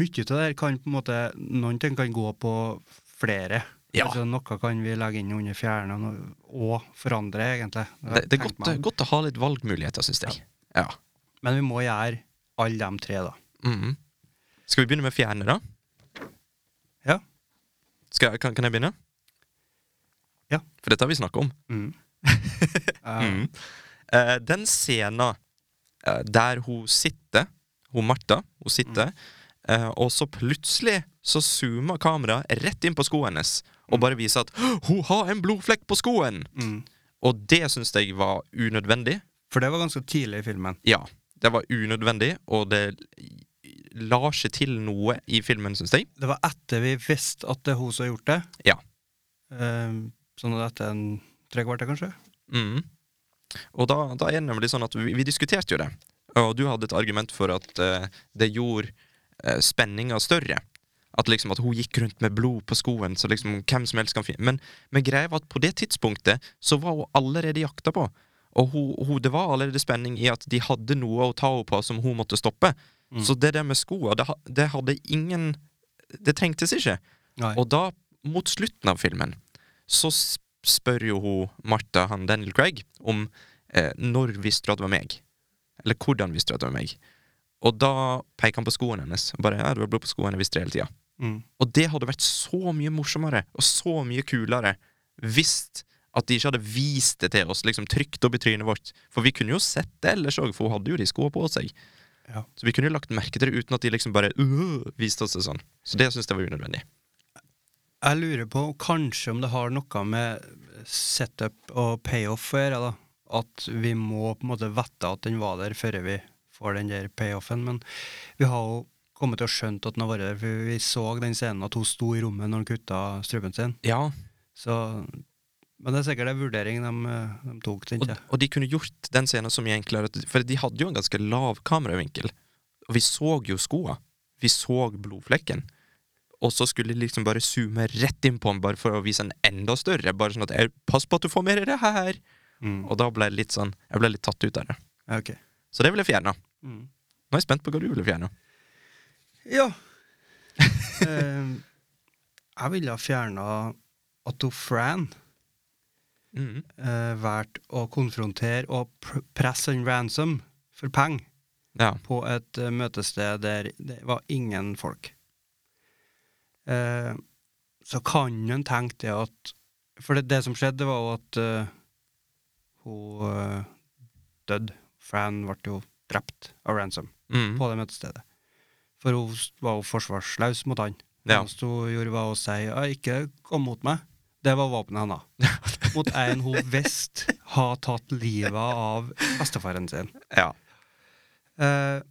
Speaker 10: Mye av det her kan på en måte Noen ting kan gå på flere.
Speaker 11: Ja.
Speaker 10: Altså, noe kan vi legge inn under fjerne og- og forandre, egentlig.
Speaker 11: Det, det er
Speaker 10: Tenk
Speaker 11: godt,
Speaker 10: meg om.
Speaker 11: godt å ha litt valgmuligheter, syns jeg. Ja.
Speaker 10: Men vi må gjøre alle de tre, da.
Speaker 11: Mm. Skal vi begynne med fjerne, da?
Speaker 10: Ja.
Speaker 11: Skal, jeg- kan, kan jeg begynne?
Speaker 10: Ja.
Speaker 11: For dette har vi snakka om.
Speaker 10: Mm.
Speaker 11: Mm. Eh, den scenen eh, der hun sitter, hun Martha, hun sitter, eh, og så plutselig så zoomer kameraet rett inn på skoen hennes og bare viser at «Hå, hun har en blodflekk på skoen!
Speaker 10: Mm.
Speaker 11: Og det syns jeg var unødvendig.
Speaker 10: For det var ganske tidlig i filmen.
Speaker 11: Ja, det var unødvendig, og det la ikke til noe i filmen, syns jeg.
Speaker 10: Det var etter vi visste at det er hun som har gjort det.
Speaker 11: Ja.
Speaker 10: Ehm, sånn at etter en tre kvarter, kanskje.
Speaker 11: Mm. Og da, da er det nemlig sånn at vi, vi diskuterte jo det, og du hadde et argument for at eh, det gjorde uh, spenninga større. At liksom at hun gikk rundt med blod på skoen, så liksom hvem som helst kan finne Men, men greia var at på det tidspunktet så var hun allerede jakta på. Og hun, hun, det var allerede spenning i at de hadde noe å ta henne på som hun måtte stoppe. Så det der med skoa, det, ha- det hadde ingen Det trengtes ikke.
Speaker 10: Nei.
Speaker 11: Og da, mot slutten av filmen, så s- spør jo hun Martha, han Daniel Craig, om eh, når visste du at det var meg? Eller hvordan visste du at det var meg? Og da peker han på skoene hennes. Og bare, ja, det var blod på skoene, jeg visste det hele tiden.
Speaker 10: Mm.
Speaker 11: Og det hadde vært så mye morsommere og så mye kulere hvis At de ikke hadde vist det til oss, liksom trykt opp i trynet vårt. For vi kunne jo sett det ellers òg, for hun hadde jo de skoene på seg.
Speaker 10: Ja.
Speaker 11: Så vi kunne jo lagt merke til det uten at de liksom bare øh, viste oss det sånn. Så det syns jeg var unødvendig.
Speaker 10: Jeg lurer på kanskje om det har noe med setup og payoff å gjøre. da. At vi må på en måte vite at den var der før vi får den der payoffen. Men vi har jo kommet til å skjønt at den har vært der, for vi så den scenen at hun sto i rommet når hun kutta strømmen sin.
Speaker 11: Ja.
Speaker 10: Så, men det er sikkert en vurdering de, de tok,
Speaker 11: Og,
Speaker 10: tenker jeg.
Speaker 11: og de kunne gjort den scenen så mye enklere, at- for de hadde jo en ganske lav kameravinkel. Og vi så jo skoa. Vi så blodflekken. Og så skulle de liksom bare zoome rett inn på den, bare for å vise en enda større. Bare sånn at «Au, 'Pass på at du får mer i det her!'
Speaker 10: Mm.
Speaker 11: Og da ble det litt sånn Jeg ble litt tatt ut av det.
Speaker 10: Ja, ok.
Speaker 11: Så det vil jeg fjerne.
Speaker 10: Mm.
Speaker 11: Nå er jeg spent på hva du vil fjerne.
Speaker 10: Ja. Eh, jeg ville ha fjerna at hun Fran
Speaker 11: Mhm.
Speaker 10: eh, valgte å konfrontere og pr presse en ransom for penger
Speaker 11: Ja.
Speaker 10: på et eh, møtested der det var ingen folk. Eh, så kan en tenke det at For det, det som skjedde, det var jo at eh, hun eh, døde. Fran ble jo drept av ransom
Speaker 11: Mhm.
Speaker 10: på det møtestedet. For hun s- var jo forsvarsløs mot han.
Speaker 11: Ja.
Speaker 10: Det eneste hun gjorde, var å si «Ja, 'ikke kom mot meg'. Det var våpenet hennes. Mot en hun visste har tatt livet av bestefaren sin.
Speaker 11: Ja.
Speaker 10: Eh,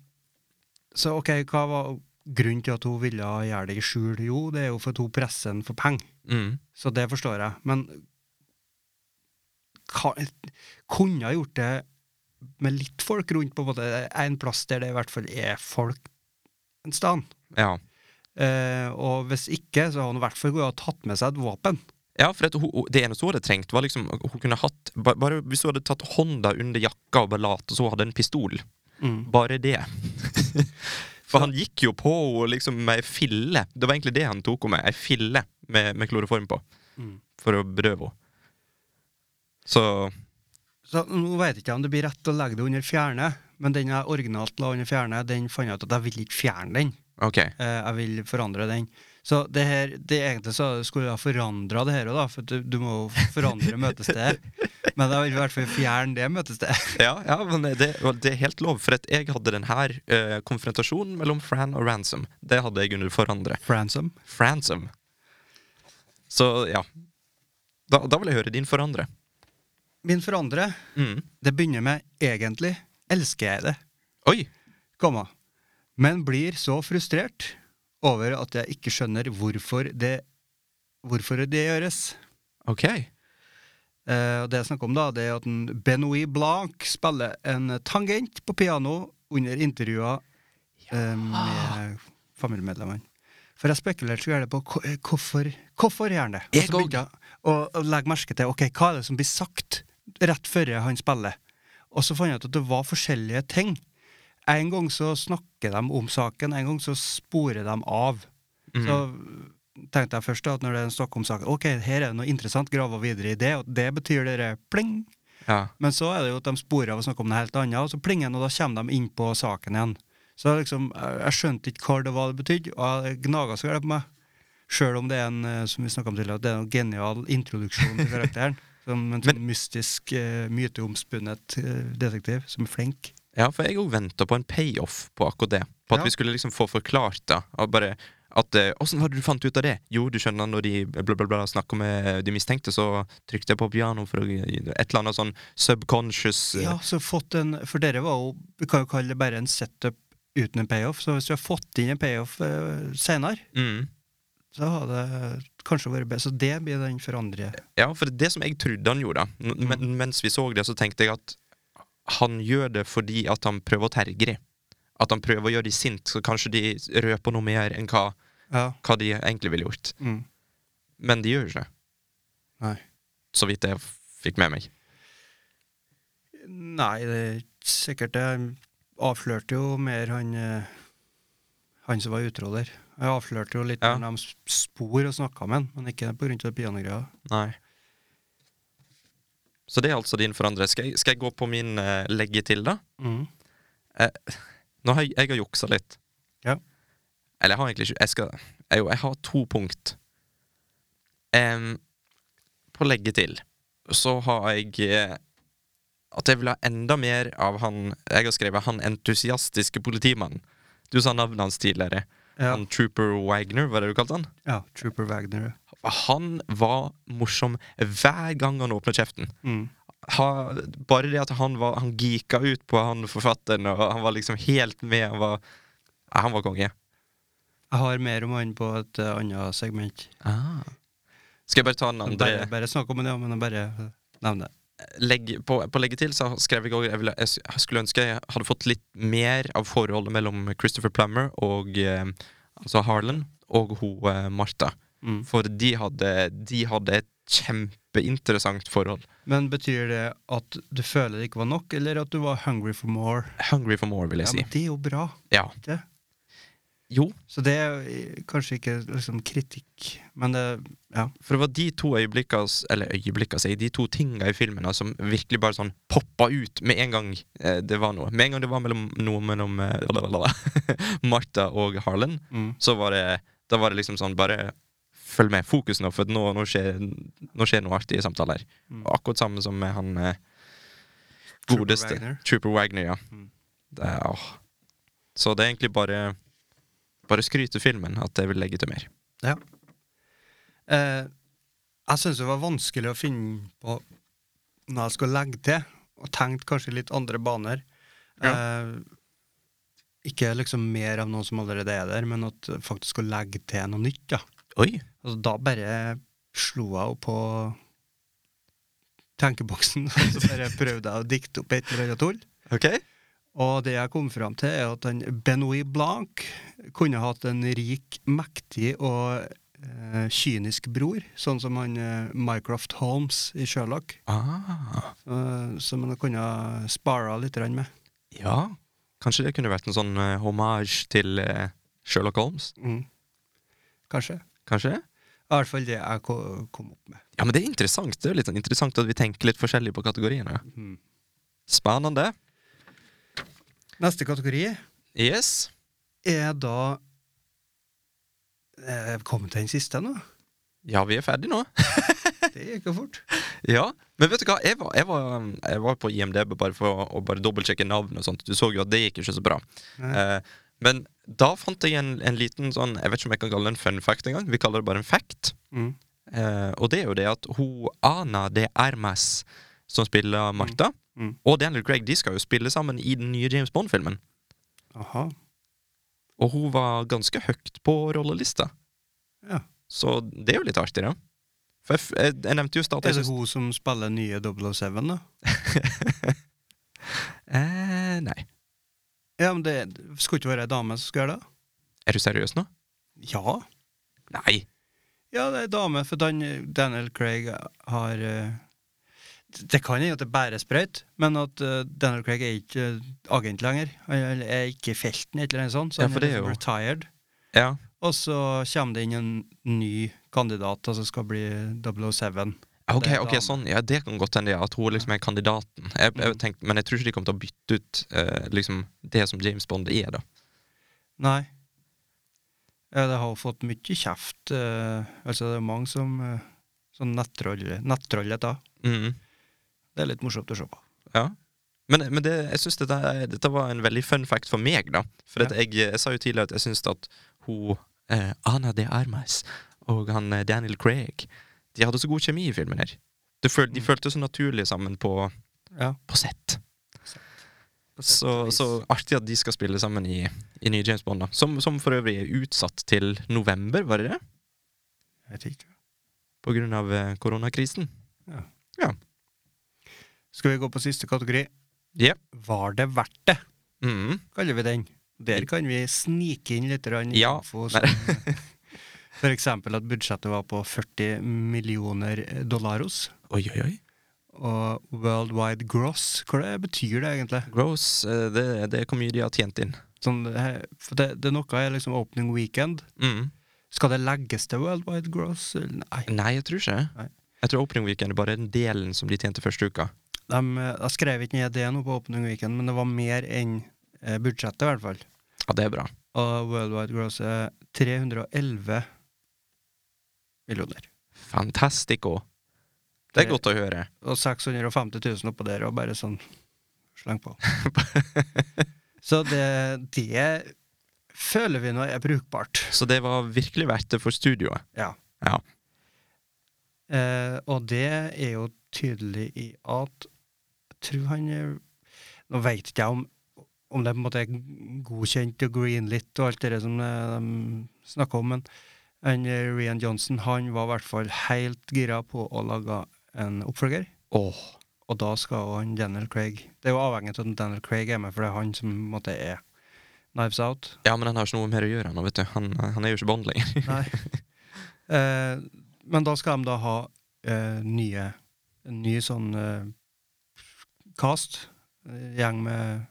Speaker 10: så OK, hva var grunnen til at hun ville gjøre det i skjul? Jo, det er jo for at hun presser en for penger.
Speaker 11: Mhm.
Speaker 10: Så det forstår jeg. Men ka- kunne ha gjort det med litt folk rundt, på en måte. En plass der det i hvert fall er folk en sted.
Speaker 11: Ja.
Speaker 10: Eh, og hvis ikke, så har hun i hvert fall gått og tatt med seg et våpen.
Speaker 11: Ja, for at hun, hun- det eneste hun hadde trengt, var liksom Hun kunne hatt ba- Bare hvis hun hadde tatt hånda under jakka og bare latt som hun hadde en pistol.
Speaker 10: Mm.
Speaker 11: Bare det. For han gikk jo på henne liksom med ei fille. Det var egentlig det han tok henne med. Ei fille med, med kloroform på.
Speaker 10: Mm.
Speaker 11: For å bedøve henne. Så
Speaker 10: Så nå vet jeg ikke om det blir rett å legge det under fjerne, men den jeg originalt la under fjerne, den fant jeg ut at jeg vil ikke fjerne den.
Speaker 11: OK.
Speaker 10: Eh, jeg vil forandre den. Så det her, det egentlig så skulle jeg forandra det her òg, da, for du, du må jo forandre møtestedet. Men jeg vil i hvert fall fjerne det møtestedet.
Speaker 11: Ja, ja men det, og det er helt lov, for at jeg hadde den her eh, konfrontasjonen mellom Fran og Ransom. Det hadde jeg under forandre.
Speaker 10: Fransom.
Speaker 11: Fransom. Så ja. Da, da vil jeg høre din forandre.
Speaker 10: Min forandre,
Speaker 11: Mm.
Speaker 10: det begynner med 'egentlig elsker jeg det',
Speaker 11: Oi!
Speaker 10: komma, men blir så frustrert over at jeg ikke skjønner hvorfor det, hvorfor det gjøres.
Speaker 11: OK.
Speaker 10: Eh, og det jeg snakker om, da, det er at en Benoit Blanc spiller en tangent på piano under intervjuer eh, med familiemedlemmene. For jeg spekulerte så gjerne på hva- eh, hvorfor, hvorfor gjør han det? Og
Speaker 11: Jeg
Speaker 10: så begynte jeg å- å legge merke til ok, hva er det som blir sagt rett før han spiller. Og så fant jeg ut at det var forskjellige ting. En gang så snakker de om saken, en gang så sporer de av. Så tenkte jeg først da, at når det er en Stockholm-sak, ok, her er det noe interessant, grave videre i det, og det betyr det der pling.
Speaker 11: Ja.
Speaker 10: Men så er det jo at de sporer av og snakker om noe helt annet, og så plinger den, og da kommer de inn på saken igjen. Så jeg liksom, jeg jeg skjønte ikke hva det var det betydde, og jeg gnaga så gærent på meg. Sjøl om det er en eh, som vi snakket om tidligere, at det er en genial introduksjon til karakteren. Som en sånn mystisk, uh, myteomspunnet eh, detektiv som er flink.
Speaker 11: Ja, for jeg òg venta på en payoff på akkurat det. På at
Speaker 10: Ja.
Speaker 11: vi skulle liksom få forklart det. Og bare at eh, 'Åssen var det du fant ut av det?' Jo, du skjønner, når de bla, bla, bla snakker med de mistenkte, så trykte jeg på piano for å gi- gi- Et eller annet sånn subconscious eh,
Speaker 10: Ja, så fått en, for dere var jo, vi kan jo kalle det bare en setup uten en payoff, så hvis vi har fått inn en payoff eh, senere,
Speaker 11: mm.
Speaker 10: så hadde det kanskje vært bedre. Så det blir den forandre.
Speaker 11: Ja, for det som jeg trodde han gjorde, n-
Speaker 10: Mm.
Speaker 11: men, mens vi så det, så tenkte jeg at han gjør det fordi at han prøver å terge dem. At han prøver å gjøre dem sint, så kanskje de røper noe mer enn hva,
Speaker 10: Ja.
Speaker 11: hva de egentlig ville gjort.
Speaker 10: Mm.
Speaker 11: Men de gjør jo ikke det,
Speaker 10: Nei.
Speaker 11: så vidt jeg f- fikk med meg.
Speaker 10: Nei, det er ikke sikkert det. Han avslørte jo mer han, eh, han som var utro der. Han avslørte jo litt
Speaker 11: Ja.
Speaker 10: når de s- spor og snakket med han, men ikke på grunn av det pianogreia.
Speaker 11: Nei. Så det er altså din forandre. Skal jeg, skal jeg gå på min eh, legge til, da?
Speaker 10: Mm.
Speaker 11: Eh, nå har jeg, jeg har juksa litt.
Speaker 10: Ja.
Speaker 11: Eller jeg har egentlig ikke Jeg, skal, jeg, jo, jeg har to punkt. Em, på legge til så har jeg eh, at jeg vil ha enda mer av han Jeg har skrevet 'han entusiastiske politimannen'. Du sa navnet hans tidligere.
Speaker 10: Ja.
Speaker 11: Han Trooper Wagner, var det du kalte han?
Speaker 10: Ja, Trooper Wagner.
Speaker 11: Han var morsom hver gang han åpnet kjeften.
Speaker 10: Mm.
Speaker 11: Ha, bare det at han var Han geeka ut på han forfatteren, og han var liksom helt med. Han var, ja, han var konge.
Speaker 10: Jeg har mer om han på et eh, annet segment.
Speaker 11: Skal jeg bare ta den andre?
Speaker 10: Ah. Bare, bare snakk om det, ja, men jeg bare eh, nevner det.
Speaker 11: legge, på, på legge til så skrev jeg også jeg, ville, jeg s- jeg skulle ønske jeg hadde fått litt mer av forholdet mellom Christopher Plummer og eh, altså Harlan og hun eh, Martha.
Speaker 10: Mm.
Speaker 11: For de hadde, de hadde et kjempeinteressant forhold.
Speaker 10: Men betyr det at du føler det ikke var nok, eller at du var hungry for more?
Speaker 11: Hungry for more, vil jeg
Speaker 10: Ja, men
Speaker 11: si.
Speaker 10: det er jo bra.
Speaker 11: Ja.
Speaker 10: Det.
Speaker 11: Jo,
Speaker 10: Så det er eh, kanskje ikke liksom kritikk, men det Ja.
Speaker 11: for det var de to øyeblikka s- Eller øyeblikka, sier jeg. De to tinga i filmen da, som virkelig bare sånn poppa ut med en gang eh, det var noe. Med en gang det var mellom, noe mellom eh, Martha og Harlan,
Speaker 10: Mm.
Speaker 11: så var det Da var det liksom sånn bare Følg med, fokus nå, for nå, nå, skjer, nå skjer noe artig i samtalen her. Og Akkurat samme som med han eh,
Speaker 10: Mm. Trooper
Speaker 11: godeste Trooper
Speaker 10: Wagner.
Speaker 11: Wagner, ja.
Speaker 10: Mm.
Speaker 11: Det er, åh. Så det er egentlig bare Bare skryte filmen at jeg vil legge til mer.
Speaker 10: ja. Eh, jeg syns det var vanskelig å finne på når jeg skulle legge til, og tenkte kanskje litt andre baner. Eh, ikke liksom mer av noe som allerede er der, men at jeg faktisk skulle legge til noe nytt. Da,
Speaker 11: Oi!
Speaker 10: altså, da bare slo jeg jo på tenkeboksen, og så bare prøvde jeg å dikte opp et eller annet tull.
Speaker 11: Ok?
Speaker 10: Og det jeg kom fram til, er at den Benoit Blanc kunne hatt en rik, mektig og eh, kynisk bror, sånn som han eh, Mycroft Holmes i Sherlock,
Speaker 11: Ah,
Speaker 10: eh, som han kunne ha spara litt grann med.
Speaker 11: ja. Kanskje det kunne vært en sånn uh, hommage til eh, Sherlock Holmes?
Speaker 10: Mm. Kanskje.
Speaker 11: Kanskje?
Speaker 10: I hvert fall det jeg ko- kom opp med.
Speaker 11: Ja, men det er interessant. Det er jo litt sånn interessant at vi tenker litt forskjellig på kategoriene. Spennende.
Speaker 10: Neste kategori
Speaker 11: Yes.
Speaker 10: er da eh, Kom til den siste nå.
Speaker 11: Ja, vi er ferdig nå.
Speaker 10: Det gikk jo fort.
Speaker 11: Ja, men vet du hva, jeg var, jeg var, jeg var på IMDb bare for å, å bare dobbeltsjekke navn og sånt. Du så jo at det gikk jo ikke så bra. Eh, men da fant jeg en, en liten sånn Jeg vet ikke om jeg kan kalle det en fun fact engang. Vi kaller det bare en fact.
Speaker 10: Mm.
Speaker 11: Eh, og det er jo det at hun Ana de Armas, som spiller Martha,
Speaker 10: Mm.
Speaker 11: og Daniel Craig, de skal jo spille sammen i den nye James Bond-filmen.
Speaker 10: Aha.
Speaker 11: Og hun var ganske høyt på rollelista.
Speaker 10: Ja.
Speaker 11: Så det er jo litt artig, da. For jeg, f- jeg, jeg nevnte jo i stad at
Speaker 10: Er
Speaker 11: jeg
Speaker 10: det
Speaker 11: synes-
Speaker 10: hun som spiller nye 007, da?
Speaker 11: eh, Nei.
Speaker 10: Ja, men det skulle ikke være ei dame som skulle gjøre det?
Speaker 11: Er du seriøs nå?
Speaker 10: Ja.
Speaker 11: Nei.
Speaker 10: Ja, det er ei dame, for Dan, Daniel Craig har eh, Det det kan hende at det bare er sprøyt, men at eh, Daniel Craig er ikke eh, agent lenger. Han er ikke i felten, et eller annet sånt, så
Speaker 11: Ja,
Speaker 10: han
Speaker 11: for
Speaker 10: er
Speaker 11: det er
Speaker 10: liksom
Speaker 11: jo-
Speaker 10: retired.
Speaker 11: Ja.
Speaker 10: Og så kommer det inn en ny kandidat, altså skal bli 007.
Speaker 11: Ok,
Speaker 10: Det er
Speaker 11: ok,
Speaker 10: dame.
Speaker 11: sånn, ja, det kan godt hende ja, at hun liksom er kandidaten. Jeg,
Speaker 10: Mm.
Speaker 11: jeg tenkte, men jeg tror ikke de kommer til å bytte ut eh, liksom det som James Bond er, da.
Speaker 10: Nei. Ja, det har jo fått mye kjeft. eh, altså, det er mange som eh, Sånn nettroll- nettrollet, da.
Speaker 11: Mhm.
Speaker 10: Det er litt morsomt å se på.
Speaker 11: Ja. Men, men det, jeg syns dette, er- dette var en veldig fun fact for meg, da. For at jeg, jeg sa jo tidligere at jeg syns at hun eh, Ana de Armas og han eh, Daniel Craig De hadde så god kjemi i filmen her. De, føl, de følte så naturlig sammen på,
Speaker 10: Ja.
Speaker 11: på sett. Så, så artig at de skal spille sammen i, i nye James Bond, da. Som, som for øvrig er utsatt til november, var det det?
Speaker 10: Jeg vet ikke.
Speaker 11: På grunn av eh, koronakrisen.
Speaker 10: Ja.
Speaker 11: Ja.
Speaker 10: Skal vi gå på siste kategori?
Speaker 11: Jep.
Speaker 10: Var det verdt det?
Speaker 11: Mm.
Speaker 10: kaller vi den. Der kan vi snike inn litt grann
Speaker 11: Ja,
Speaker 10: info. Som, for eksempel at budsjettet var på 40 millioner dollaros.
Speaker 11: Oi, oi, oi.
Speaker 10: Og worldwide gross, hva det betyr det egentlig?
Speaker 11: Gross, eh, det, det er hvor mye de har tjent inn.
Speaker 10: Sånn, eh, for det, det er noe er liksom opening weekend.
Speaker 11: Mm.
Speaker 10: Skal det legges til worldwide gross? eller Nei.
Speaker 11: Nei, jeg tror ikke det.
Speaker 10: Nei.
Speaker 11: Jeg tror opening weekend er bare den delen som de tjente første uka.
Speaker 10: De, eh, jeg skrev ikke ned det nå på opening weekend, men det var mer enn eh, budsjettet, i hvert fall.
Speaker 11: Ja, det er bra.
Speaker 10: Og worldwide gross er 311 millioner.
Speaker 11: Fantastico. Det er godt å høre.
Speaker 10: Og 650 000 oppå der, og bare sånn sleng på. så det, det føler vi nå er brukbart.
Speaker 11: Så det var virkelig verdt det for studioet?
Speaker 10: Ja.
Speaker 11: ja.
Speaker 10: Eh, og det er jo tydelig i at jeg tror han er- Nå veit ikke jeg om, om det på en måte er godkjent og greenlit og alt det der som eh, de snakker om, men han, eh, Rian Johnson han var i hvert fall helt gira på å lage en oppfølger.
Speaker 11: Åh.
Speaker 10: Og da skal jo han Daniel Craig Det er jo avhengig av at Daniel Craig er med, for det er han som på en måte er Knives Out.
Speaker 11: Ja, men han har ikke noe mer å gjøre nå, vet du. Han, han er jo ikke Bond lenger.
Speaker 10: Nei. Eh, men da skal de da ha eh, nye En ny sånn eh, cast. Eh, Gjeng med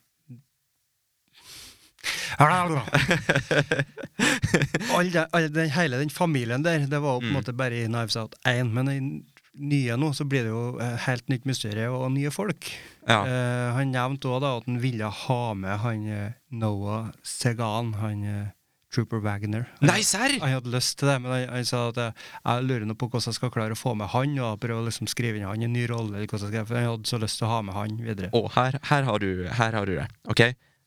Speaker 10: All den, all den, hele den familien der, det var jo på en
Speaker 11: Mm.
Speaker 10: måte bare i Knives Out 1. Men i n- nye nå så blir det jo eh, helt nytt mysterium og nye folk.
Speaker 11: Ja.
Speaker 10: Eh, han nevnte òg at han ville ha med han eh, Noah Segan, han eh, Trooper Wagner. Han-
Speaker 11: Nei, serr?!
Speaker 10: han hadde lyst til det, men han, han sa at jeg, jeg lurer nå på hvordan jeg skal klare å få med han, og prøve å liksom skrive inn han i en ny rolle, eller hvordan jeg skal gjøre, for han hadde så lyst til å ha med han videre.
Speaker 11: Og her, her, har du, her har du det. OK?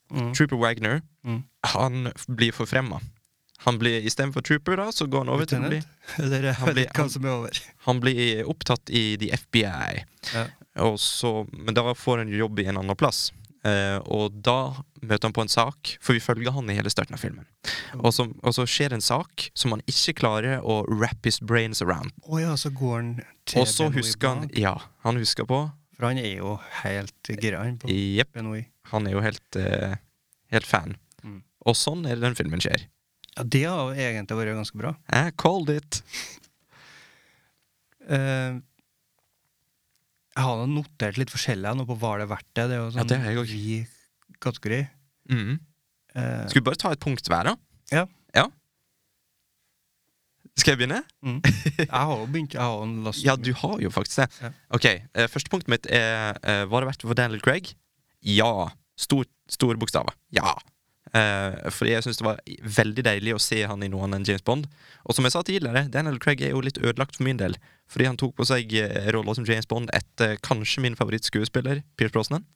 Speaker 10: Mm.
Speaker 11: Trooper Wagner,
Speaker 10: Mm.
Speaker 11: han blir forfremma. Han blir Istedenfor Trooper, da, så går han over til å bli
Speaker 10: Lieutenant? Eller jeg
Speaker 11: Han
Speaker 10: vet
Speaker 11: blir-
Speaker 10: ikke hva som er over.
Speaker 11: Han blir opptatt i The FBI,
Speaker 10: Ja.
Speaker 11: og så, men da får han jo jobb i en annen plass. Eh, og da møter han på en sak, for vi følger han i hele starten av filmen. Og så, og så skjer en sak som han ikke klarer å wrap his brains around.
Speaker 10: Å ja, så går han til
Speaker 11: Og så
Speaker 10: Benoit
Speaker 11: husker han
Speaker 10: Blanc,
Speaker 11: Ja, han husker på
Speaker 10: For han er jo helt gira han på
Speaker 11: Jepp.
Speaker 10: Benoit.
Speaker 11: Han er jo helt, eh, helt fan.
Speaker 10: Mm.
Speaker 11: Og sånn er det den filmen skjer.
Speaker 10: Ja, det har jo egentlig vært ganske bra.
Speaker 11: I called it.
Speaker 10: Eh, jeg har nå notert litt forskjellig her nå på hva det er verdt det. Det er jo
Speaker 11: Ja,
Speaker 10: sånn
Speaker 11: det har jeg også.
Speaker 10: vid kategori.
Speaker 11: Mm.
Speaker 10: Eh,
Speaker 11: Skal vi bare ta et punkt hver, da?
Speaker 10: Ja.
Speaker 11: Skal jeg begynne?
Speaker 10: mm. Jeg har jo begynt, jeg har jo en last
Speaker 11: Ja, du har jo faktisk det.
Speaker 10: Ja.
Speaker 11: Ok, eh, Første punktet mitt er eh, Var det verdt det for Daniel Craig? Ja. Stor, store bokstaver. Ja. Eh, fordi jeg syns det var veldig deilig å se han i noe annet enn James Bond. Og som jeg sa tidligere, Daniel Craig er jo litt ødelagt for min del. Fordi han tok på seg eh, rolla som James Bond etter kanskje min favorittskuespiller, Pierce Brosnan.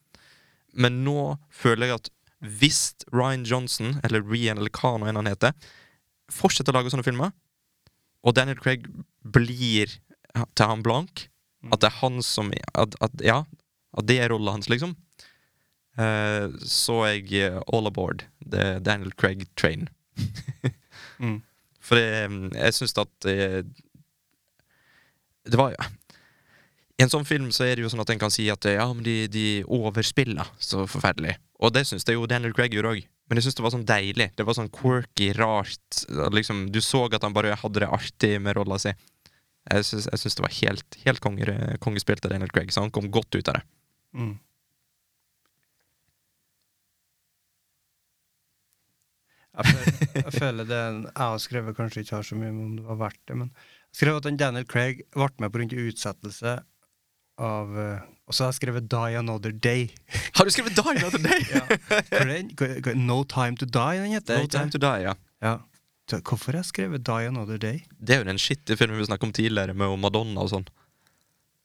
Speaker 11: Men nå føler jeg at hvis Ryan Johnson, eller Rian, eller hva nå enn han heter, fortsetter å lage sånne filmer, og Daniel Craig blir til han blank. At det er han som at, at, Ja, at det er rollen hans, liksom. Eh, så er jeg eh, all aboard the Daniel Craig train.
Speaker 10: Mm.
Speaker 11: For det, mm, jeg syns at eh, Det var jo I en sånn film så er det jo sånn at en kan si at eh, ja, men de, de overspiller så forferdelig. Og det syns jeg jo Daniel Craig gjorde òg. Men jeg syns det var sånn deilig. Det var sånn quirky, rart. Liksom, du så at han bare hadde det artig med rolla si. Jeg syns, jeg syns det var helt, helt konger, kongespilt av Daniel Craig, så han kom godt ut av det.
Speaker 10: Mm. Jeg føler, jeg føler det jeg har skrevet kanskje ikke har så mye om det var verdt det, men jeg skrev at den Daniel Craig ble med pga. utsettelse av eh, Og så har jeg skrevet 'Die Another Day'.
Speaker 11: Har du skrevet 'Die Another Day'?
Speaker 10: Ja. Hva er den? Hva- hva- 'No Time To Die', den heter.
Speaker 11: No
Speaker 10: ikke
Speaker 11: Time
Speaker 10: det?
Speaker 11: To Die, ja.
Speaker 10: ja. Så Hvorfor har jeg skrevet 'Die Another Day'?
Speaker 11: Det er jo den shitty filmen vi snakket om tidligere, med Madonna og sånn.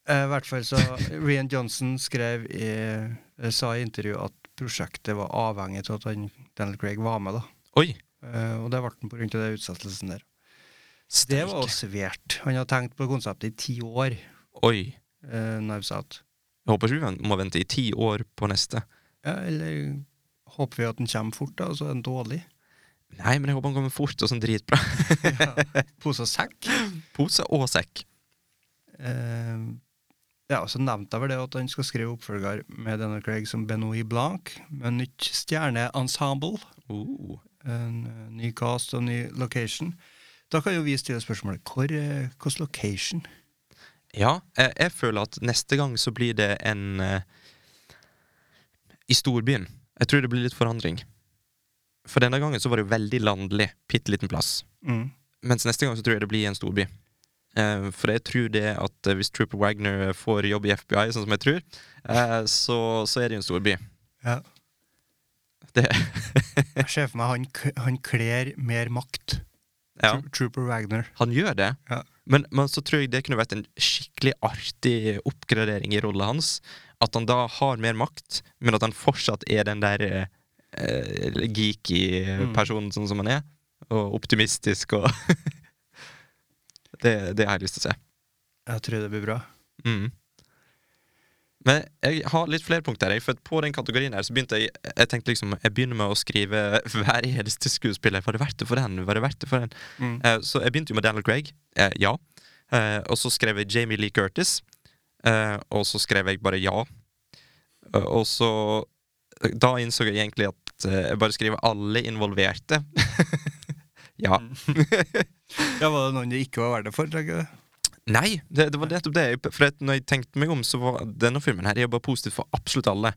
Speaker 10: Eh, I hvert fall så Rian Johnson skrev i, eh, sa i intervju at prosjektet var avhengig av at han, Daniel Craig var med, da.
Speaker 11: Oi!
Speaker 10: Eh, og det ble han pga. den utsettelsen der. Det
Speaker 11: steike.
Speaker 10: var også svært. Han hadde tenkt på konseptet i ti år.
Speaker 11: Oi.
Speaker 10: Uh, Knives Out.
Speaker 11: Jeg håper ikke vi vent- må vente i ti år på neste.
Speaker 10: Ja, eller håper vi at den kommer fort, da, og så er den dårlig.
Speaker 11: Nei, men jeg håper han kommer fort og sånn dritbra.
Speaker 10: Pose og sekk.
Speaker 11: Pose og sekk.
Speaker 10: Eh, ja, og så nevnte jeg vel det at han skal skrive oppfølger med Daniel Craig som Benoit Blanc, med nytt stjerneensemble.
Speaker 11: Oh.
Speaker 10: en eh, ny cast og ny location. Da kan jo vi stille spørsmålet hvor, eh, hvordan location?
Speaker 11: Ja, jeg, jeg føler at neste gang så blir det en eh, I storbyen. Jeg tror det blir litt forandring. For denne gangen så var det jo veldig landlig. Bitte liten plass.
Speaker 10: Mm.
Speaker 11: Mens neste gang så tror jeg det blir i en storby. Eh, for jeg tror det at eh, hvis Trooper Wagner får jobb i FBI, sånn som jeg tror, eh, så, så er det jo en storby.
Speaker 10: Ja.
Speaker 11: Det,
Speaker 10: Jeg ser for meg han, k- han kler mer makt.
Speaker 11: Ja.
Speaker 10: Trooper Wagner.
Speaker 11: Han gjør det.
Speaker 10: Ja.
Speaker 11: Men, men så tror jeg det kunne vært en skikkelig artig oppgradering i rollen hans. At han da har mer makt, men at han fortsatt er den der eh, eh, geeky personen sånn som han er. Og optimistisk og det, det har jeg lyst til å se.
Speaker 10: Jeg tror det blir bra.
Speaker 11: Mm. Men jeg har litt flere punkter. Jeg, for på den kategorien her så begynte jeg Jeg tenkte liksom, jeg begynner med å skrive hver eneste skuespiller. Var det verdt det for den? Var det verdt det for den?
Speaker 10: Mm.
Speaker 11: Eh, så jeg begynte jo med Daniel Craig. Eh, ja. Eh, og så skrev jeg Jamie Lee Curtis. Eh, og så skrev jeg bare ja. Eh, og så eh, Da innså jeg egentlig at eh, jeg bare skriver alle involverte. ja.
Speaker 10: Ja, Var det noen det ikke var verdt det for? tenker jeg?
Speaker 11: Nei, det, det var nettopp det. jeg- For at når jeg tenkte meg om, så var denne filmen her jobba positivt for absolutt alle.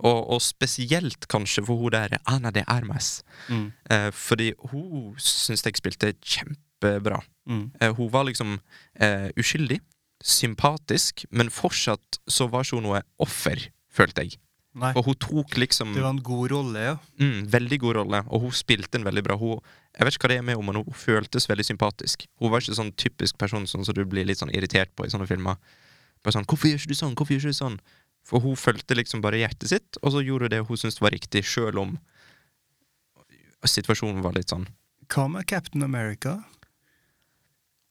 Speaker 11: Og, og spesielt kanskje for hun der Ana de Armas.
Speaker 10: Mm.
Speaker 11: Eh, fordi hun syns jeg spilte kjempebra.
Speaker 10: Mm.
Speaker 11: Eh, hun var liksom eh, uskyldig, sympatisk, men fortsatt så var ikke hun noe offer, følte jeg.
Speaker 10: Nei.
Speaker 11: Og hun tok liksom
Speaker 10: Det var en god rolle, ja.
Speaker 11: Mm, veldig god rolle, og hun spilte den veldig bra. Hun, jeg vet ikke hva det er med henne, men hun føltes veldig sympatisk. Hun var ikke sånn typisk person sånn som du blir litt sånn irritert på i sånne filmer. Bare sånn 'Hvorfor gjør ikke du sånn? Hvorfor gjør ikke du sånn?' For hun fulgte liksom bare hjertet sitt, og så gjorde hun det hun syntes var riktig, sjøl om situasjonen var litt sånn
Speaker 10: Hva med Captain America?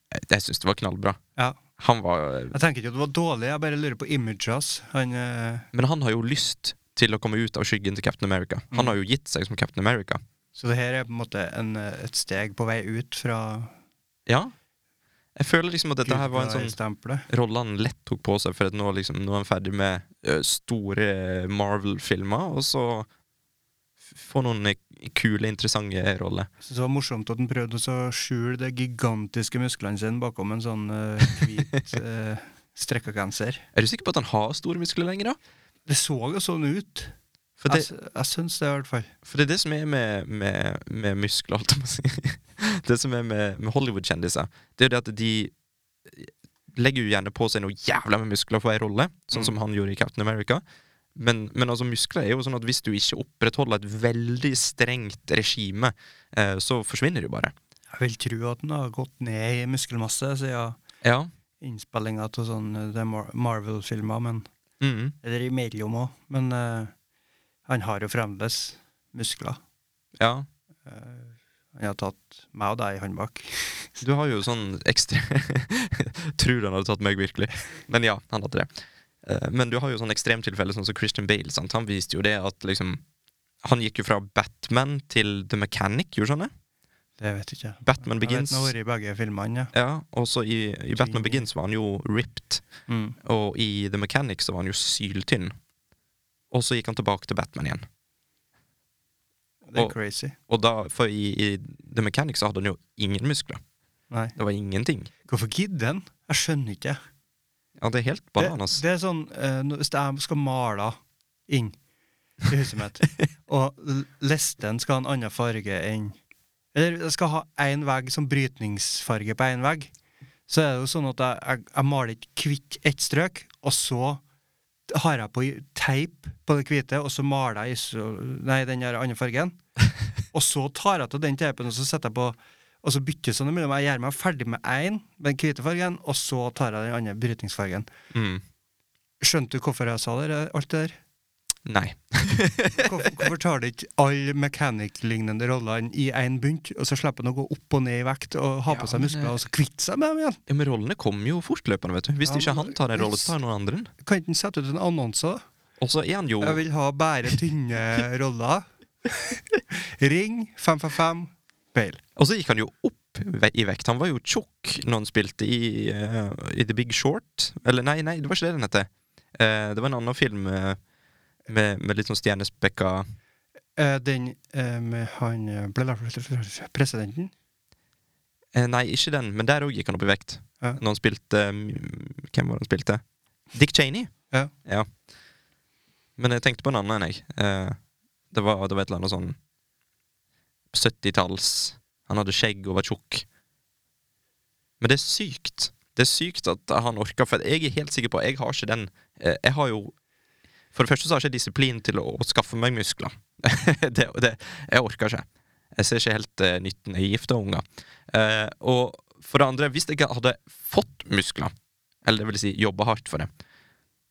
Speaker 11: Jeg, eh, jeg syns det var knallbra.
Speaker 10: Ja.
Speaker 11: Han var
Speaker 10: Jeg tenker ikke at det var dårlig, jeg bare lurer på imaget hans. Han eh,
Speaker 11: Men han har jo lyst til å komme ut av skyggen til Captain America. Han har jo gitt seg som Captain America.
Speaker 10: Så det her er på en måte en, eh, et steg på vei ut fra
Speaker 11: Ja. Jeg føler liksom at dette her var en sånn
Speaker 10: stempelet.
Speaker 11: rolla han lett tok på seg, for at nå, liksom, nå er han ferdig med ø, store Marvel-filmer, og så f- få noen ø, kule, interessante roller.
Speaker 10: Så det var morsomt at han prøvde også å skjule de gigantiske musklene sine bakom en sånn eh, hvit eh, strekka genser.
Speaker 11: Er du sikker på at han har store muskler lenger, da?
Speaker 10: Det så jo sånn ut.
Speaker 11: For det,
Speaker 10: jeg s- jeg syns det, i hvert fall.
Speaker 11: for det er det som er med, med, med muskler, holdt jeg på å si. Det som er med, med Hollywood-kjendiser, det er jo det at de legger jo gjerne på seg noe jævla med muskler for ei rolle, sånn som han gjorde i Captain America. Men, men altså, muskler er jo sånn at hvis du ikke opprettholder et veldig strengt regime, eh, så forsvinner det jo bare.
Speaker 10: Jeg vil tro at han har gått ned i muskelmasse siden
Speaker 11: Ja.
Speaker 10: innspillinga av sånne de eh, Mar Marvel-filmer, men
Speaker 11: Mm.
Speaker 10: Eller imellom òg. Men eh, han har jo fremdeles muskler.
Speaker 11: Ja.
Speaker 10: Eh, han har tatt meg og deg i håndbak.
Speaker 11: Du har jo sånn ekstra Tror han hadde tatt meg virkelig. Men ja, han hadde det. Eh, Men du har jo sånn ekstremtilfelle sånn som Christian Bale. Sant? Han viste jo det at liksom Han gikk jo fra Batman til The Mechanic, gjorde han det?
Speaker 10: Det vet jeg ikke.
Speaker 11: Batman
Speaker 10: Jeg vet
Speaker 11: Begins.
Speaker 10: han har vært i begge filmene, ja.
Speaker 11: Ja, og så i, i Batman
Speaker 10: Genius.
Speaker 11: Begins var han jo ripped,
Speaker 10: Mm.
Speaker 11: og i The Mechanic så var han jo syltynn. Og så gikk han tilbake til Batman igjen.
Speaker 10: Det er
Speaker 11: Og-
Speaker 10: crazy.
Speaker 11: Og da, For i, i The Mechanic så hadde han jo ingen muskler.
Speaker 10: Nei.
Speaker 11: Det var ingenting.
Speaker 10: Hvorfor gidder han? Jeg skjønner ikke.
Speaker 11: Ja, det er helt
Speaker 10: Det,
Speaker 11: bananas.
Speaker 10: det er sånn eh, nå- Hvis jeg skal male inn i huset mitt, og l- listen skal ha en annen farge enn Eller jeg skal ha én vegg som brytningsfarge på én vegg, så er det jo sånn at jeg, jeg, jeg maler ikke kvitt ett strøk, og så har jeg på i- teip på det hvite, og så maler jeg iso, nei, den der andre fargen. Og så tar jeg til den teipen, og så setter jeg på og så bytter sånn imellom. Jeg gjør meg ferdig med én, den hvite fargen, og så tar jeg den andre brytningsfargen.
Speaker 11: Mm.
Speaker 10: Skjønte du hvorfor jeg sa det, der, alt det der?
Speaker 11: Nei.
Speaker 10: Hvorfor, hvorfor tar det ikke alle mechanic-lignende rollene i én bunt, og så slipper han å gå opp og ned i vekt og ha
Speaker 11: Ja,
Speaker 10: på seg
Speaker 11: men,
Speaker 10: muskler,
Speaker 11: eh,
Speaker 10: og så kvitte seg med dem igjen?
Speaker 11: Ja, men rollene kommer jo fortløpende, vet du. Hvis
Speaker 10: Ja,
Speaker 11: ikke
Speaker 10: men-
Speaker 11: han tar en rolle, så tar noen andre den.
Speaker 10: Kan ikke han sette ut en annonse? da?
Speaker 11: Og så er han jo
Speaker 10: Jeg vil ha bare tynne roller. Ring 555 Bale.
Speaker 11: Og så gikk han jo opp ve- i vekt. Han var jo tjukk når han spilte i, eh, i The Big Short. Eller nei, nei, det var ikke det den het. det var en annen film eh, med, med litt sånn stjernespekka
Speaker 10: Eh, den eh, med han eh, ble- Presidenten?
Speaker 11: Eh, Nei, ikke den, men der òg gikk han opp i vekt.
Speaker 10: Ja.
Speaker 11: Når han spilte mm, Hvem var det han spilte? Dick Cheney.
Speaker 10: Ja.
Speaker 11: Men jeg tenkte på en annen enn jeg. Eh, det, var, det var et eller annet sånn 70-talls Han hadde skjegg og var tjukk. Men det er sykt. Det er sykt at han orka, for jeg er helt sikker på Jeg har ikke den eh, Jeg har jo For det første så har jeg ikke disiplin til å, å skaffe meg muskler. det, det, jeg orker ikke. Jeg ser ikke helt eh, nytten. Jeg er gifta og unger. Eh, og for det andre, hvis jeg ikke hadde fått muskler, eller det vil si jobba hardt for det,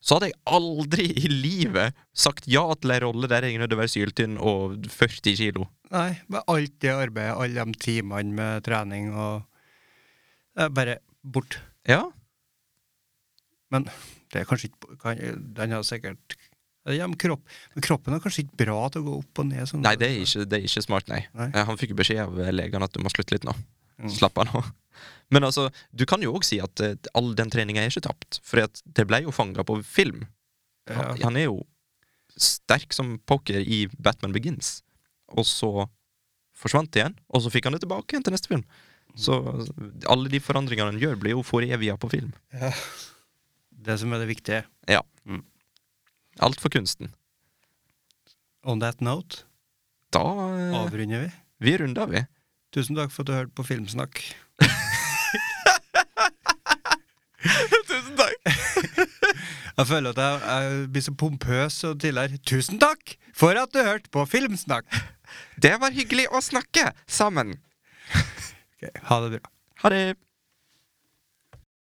Speaker 11: så hadde jeg aldri i livet sagt ja til ei rolle der jeg er nødt til å være syltynn og 40 kilo.
Speaker 10: Nei, med alt det arbeidet, alle de timene med trening og eh, Bare bort.
Speaker 11: Ja.
Speaker 10: Men det er kanskje ikke kan, Den har sikkert ja, men, kropp, men kroppen er kanskje ikke bra til å gå opp og ned sånn.
Speaker 11: Nei, det er ikke, det er ikke smart, nei.
Speaker 10: Nei.
Speaker 11: Eh, Han fikk jo beskjed av legene at du må slutte litt nå.
Speaker 10: Mm.
Speaker 11: Slapp av nå. Men altså, du kan jo òg si at eh, all den treninga er ikke tapt, for det ble jo fanga på film. Han,
Speaker 10: Ja.
Speaker 11: han er jo sterk som poker i Batman Begins, og så forsvant det igjen, og så fikk han det tilbake igjen til neste film.
Speaker 10: Mm.
Speaker 11: Så alle de forandringene han gjør, blir jo foreviga på film.
Speaker 10: Ja. Det som er det viktige.
Speaker 11: Ja.
Speaker 10: Mm.
Speaker 11: Alt for kunsten.
Speaker 10: On that note
Speaker 11: Da eh,
Speaker 10: avrunder vi.
Speaker 11: Vi runder, vi.
Speaker 10: Tusen takk for at du hørte på Filmsnakk.
Speaker 11: Tusen takk!
Speaker 10: Jeg føler at jeg, jeg blir så pompøs og tidligere. Tusen takk for at du hørte på Filmsnakk!
Speaker 11: Det var hyggelig å snakke sammen.
Speaker 10: Ok, ha det bra.
Speaker 11: Ha det.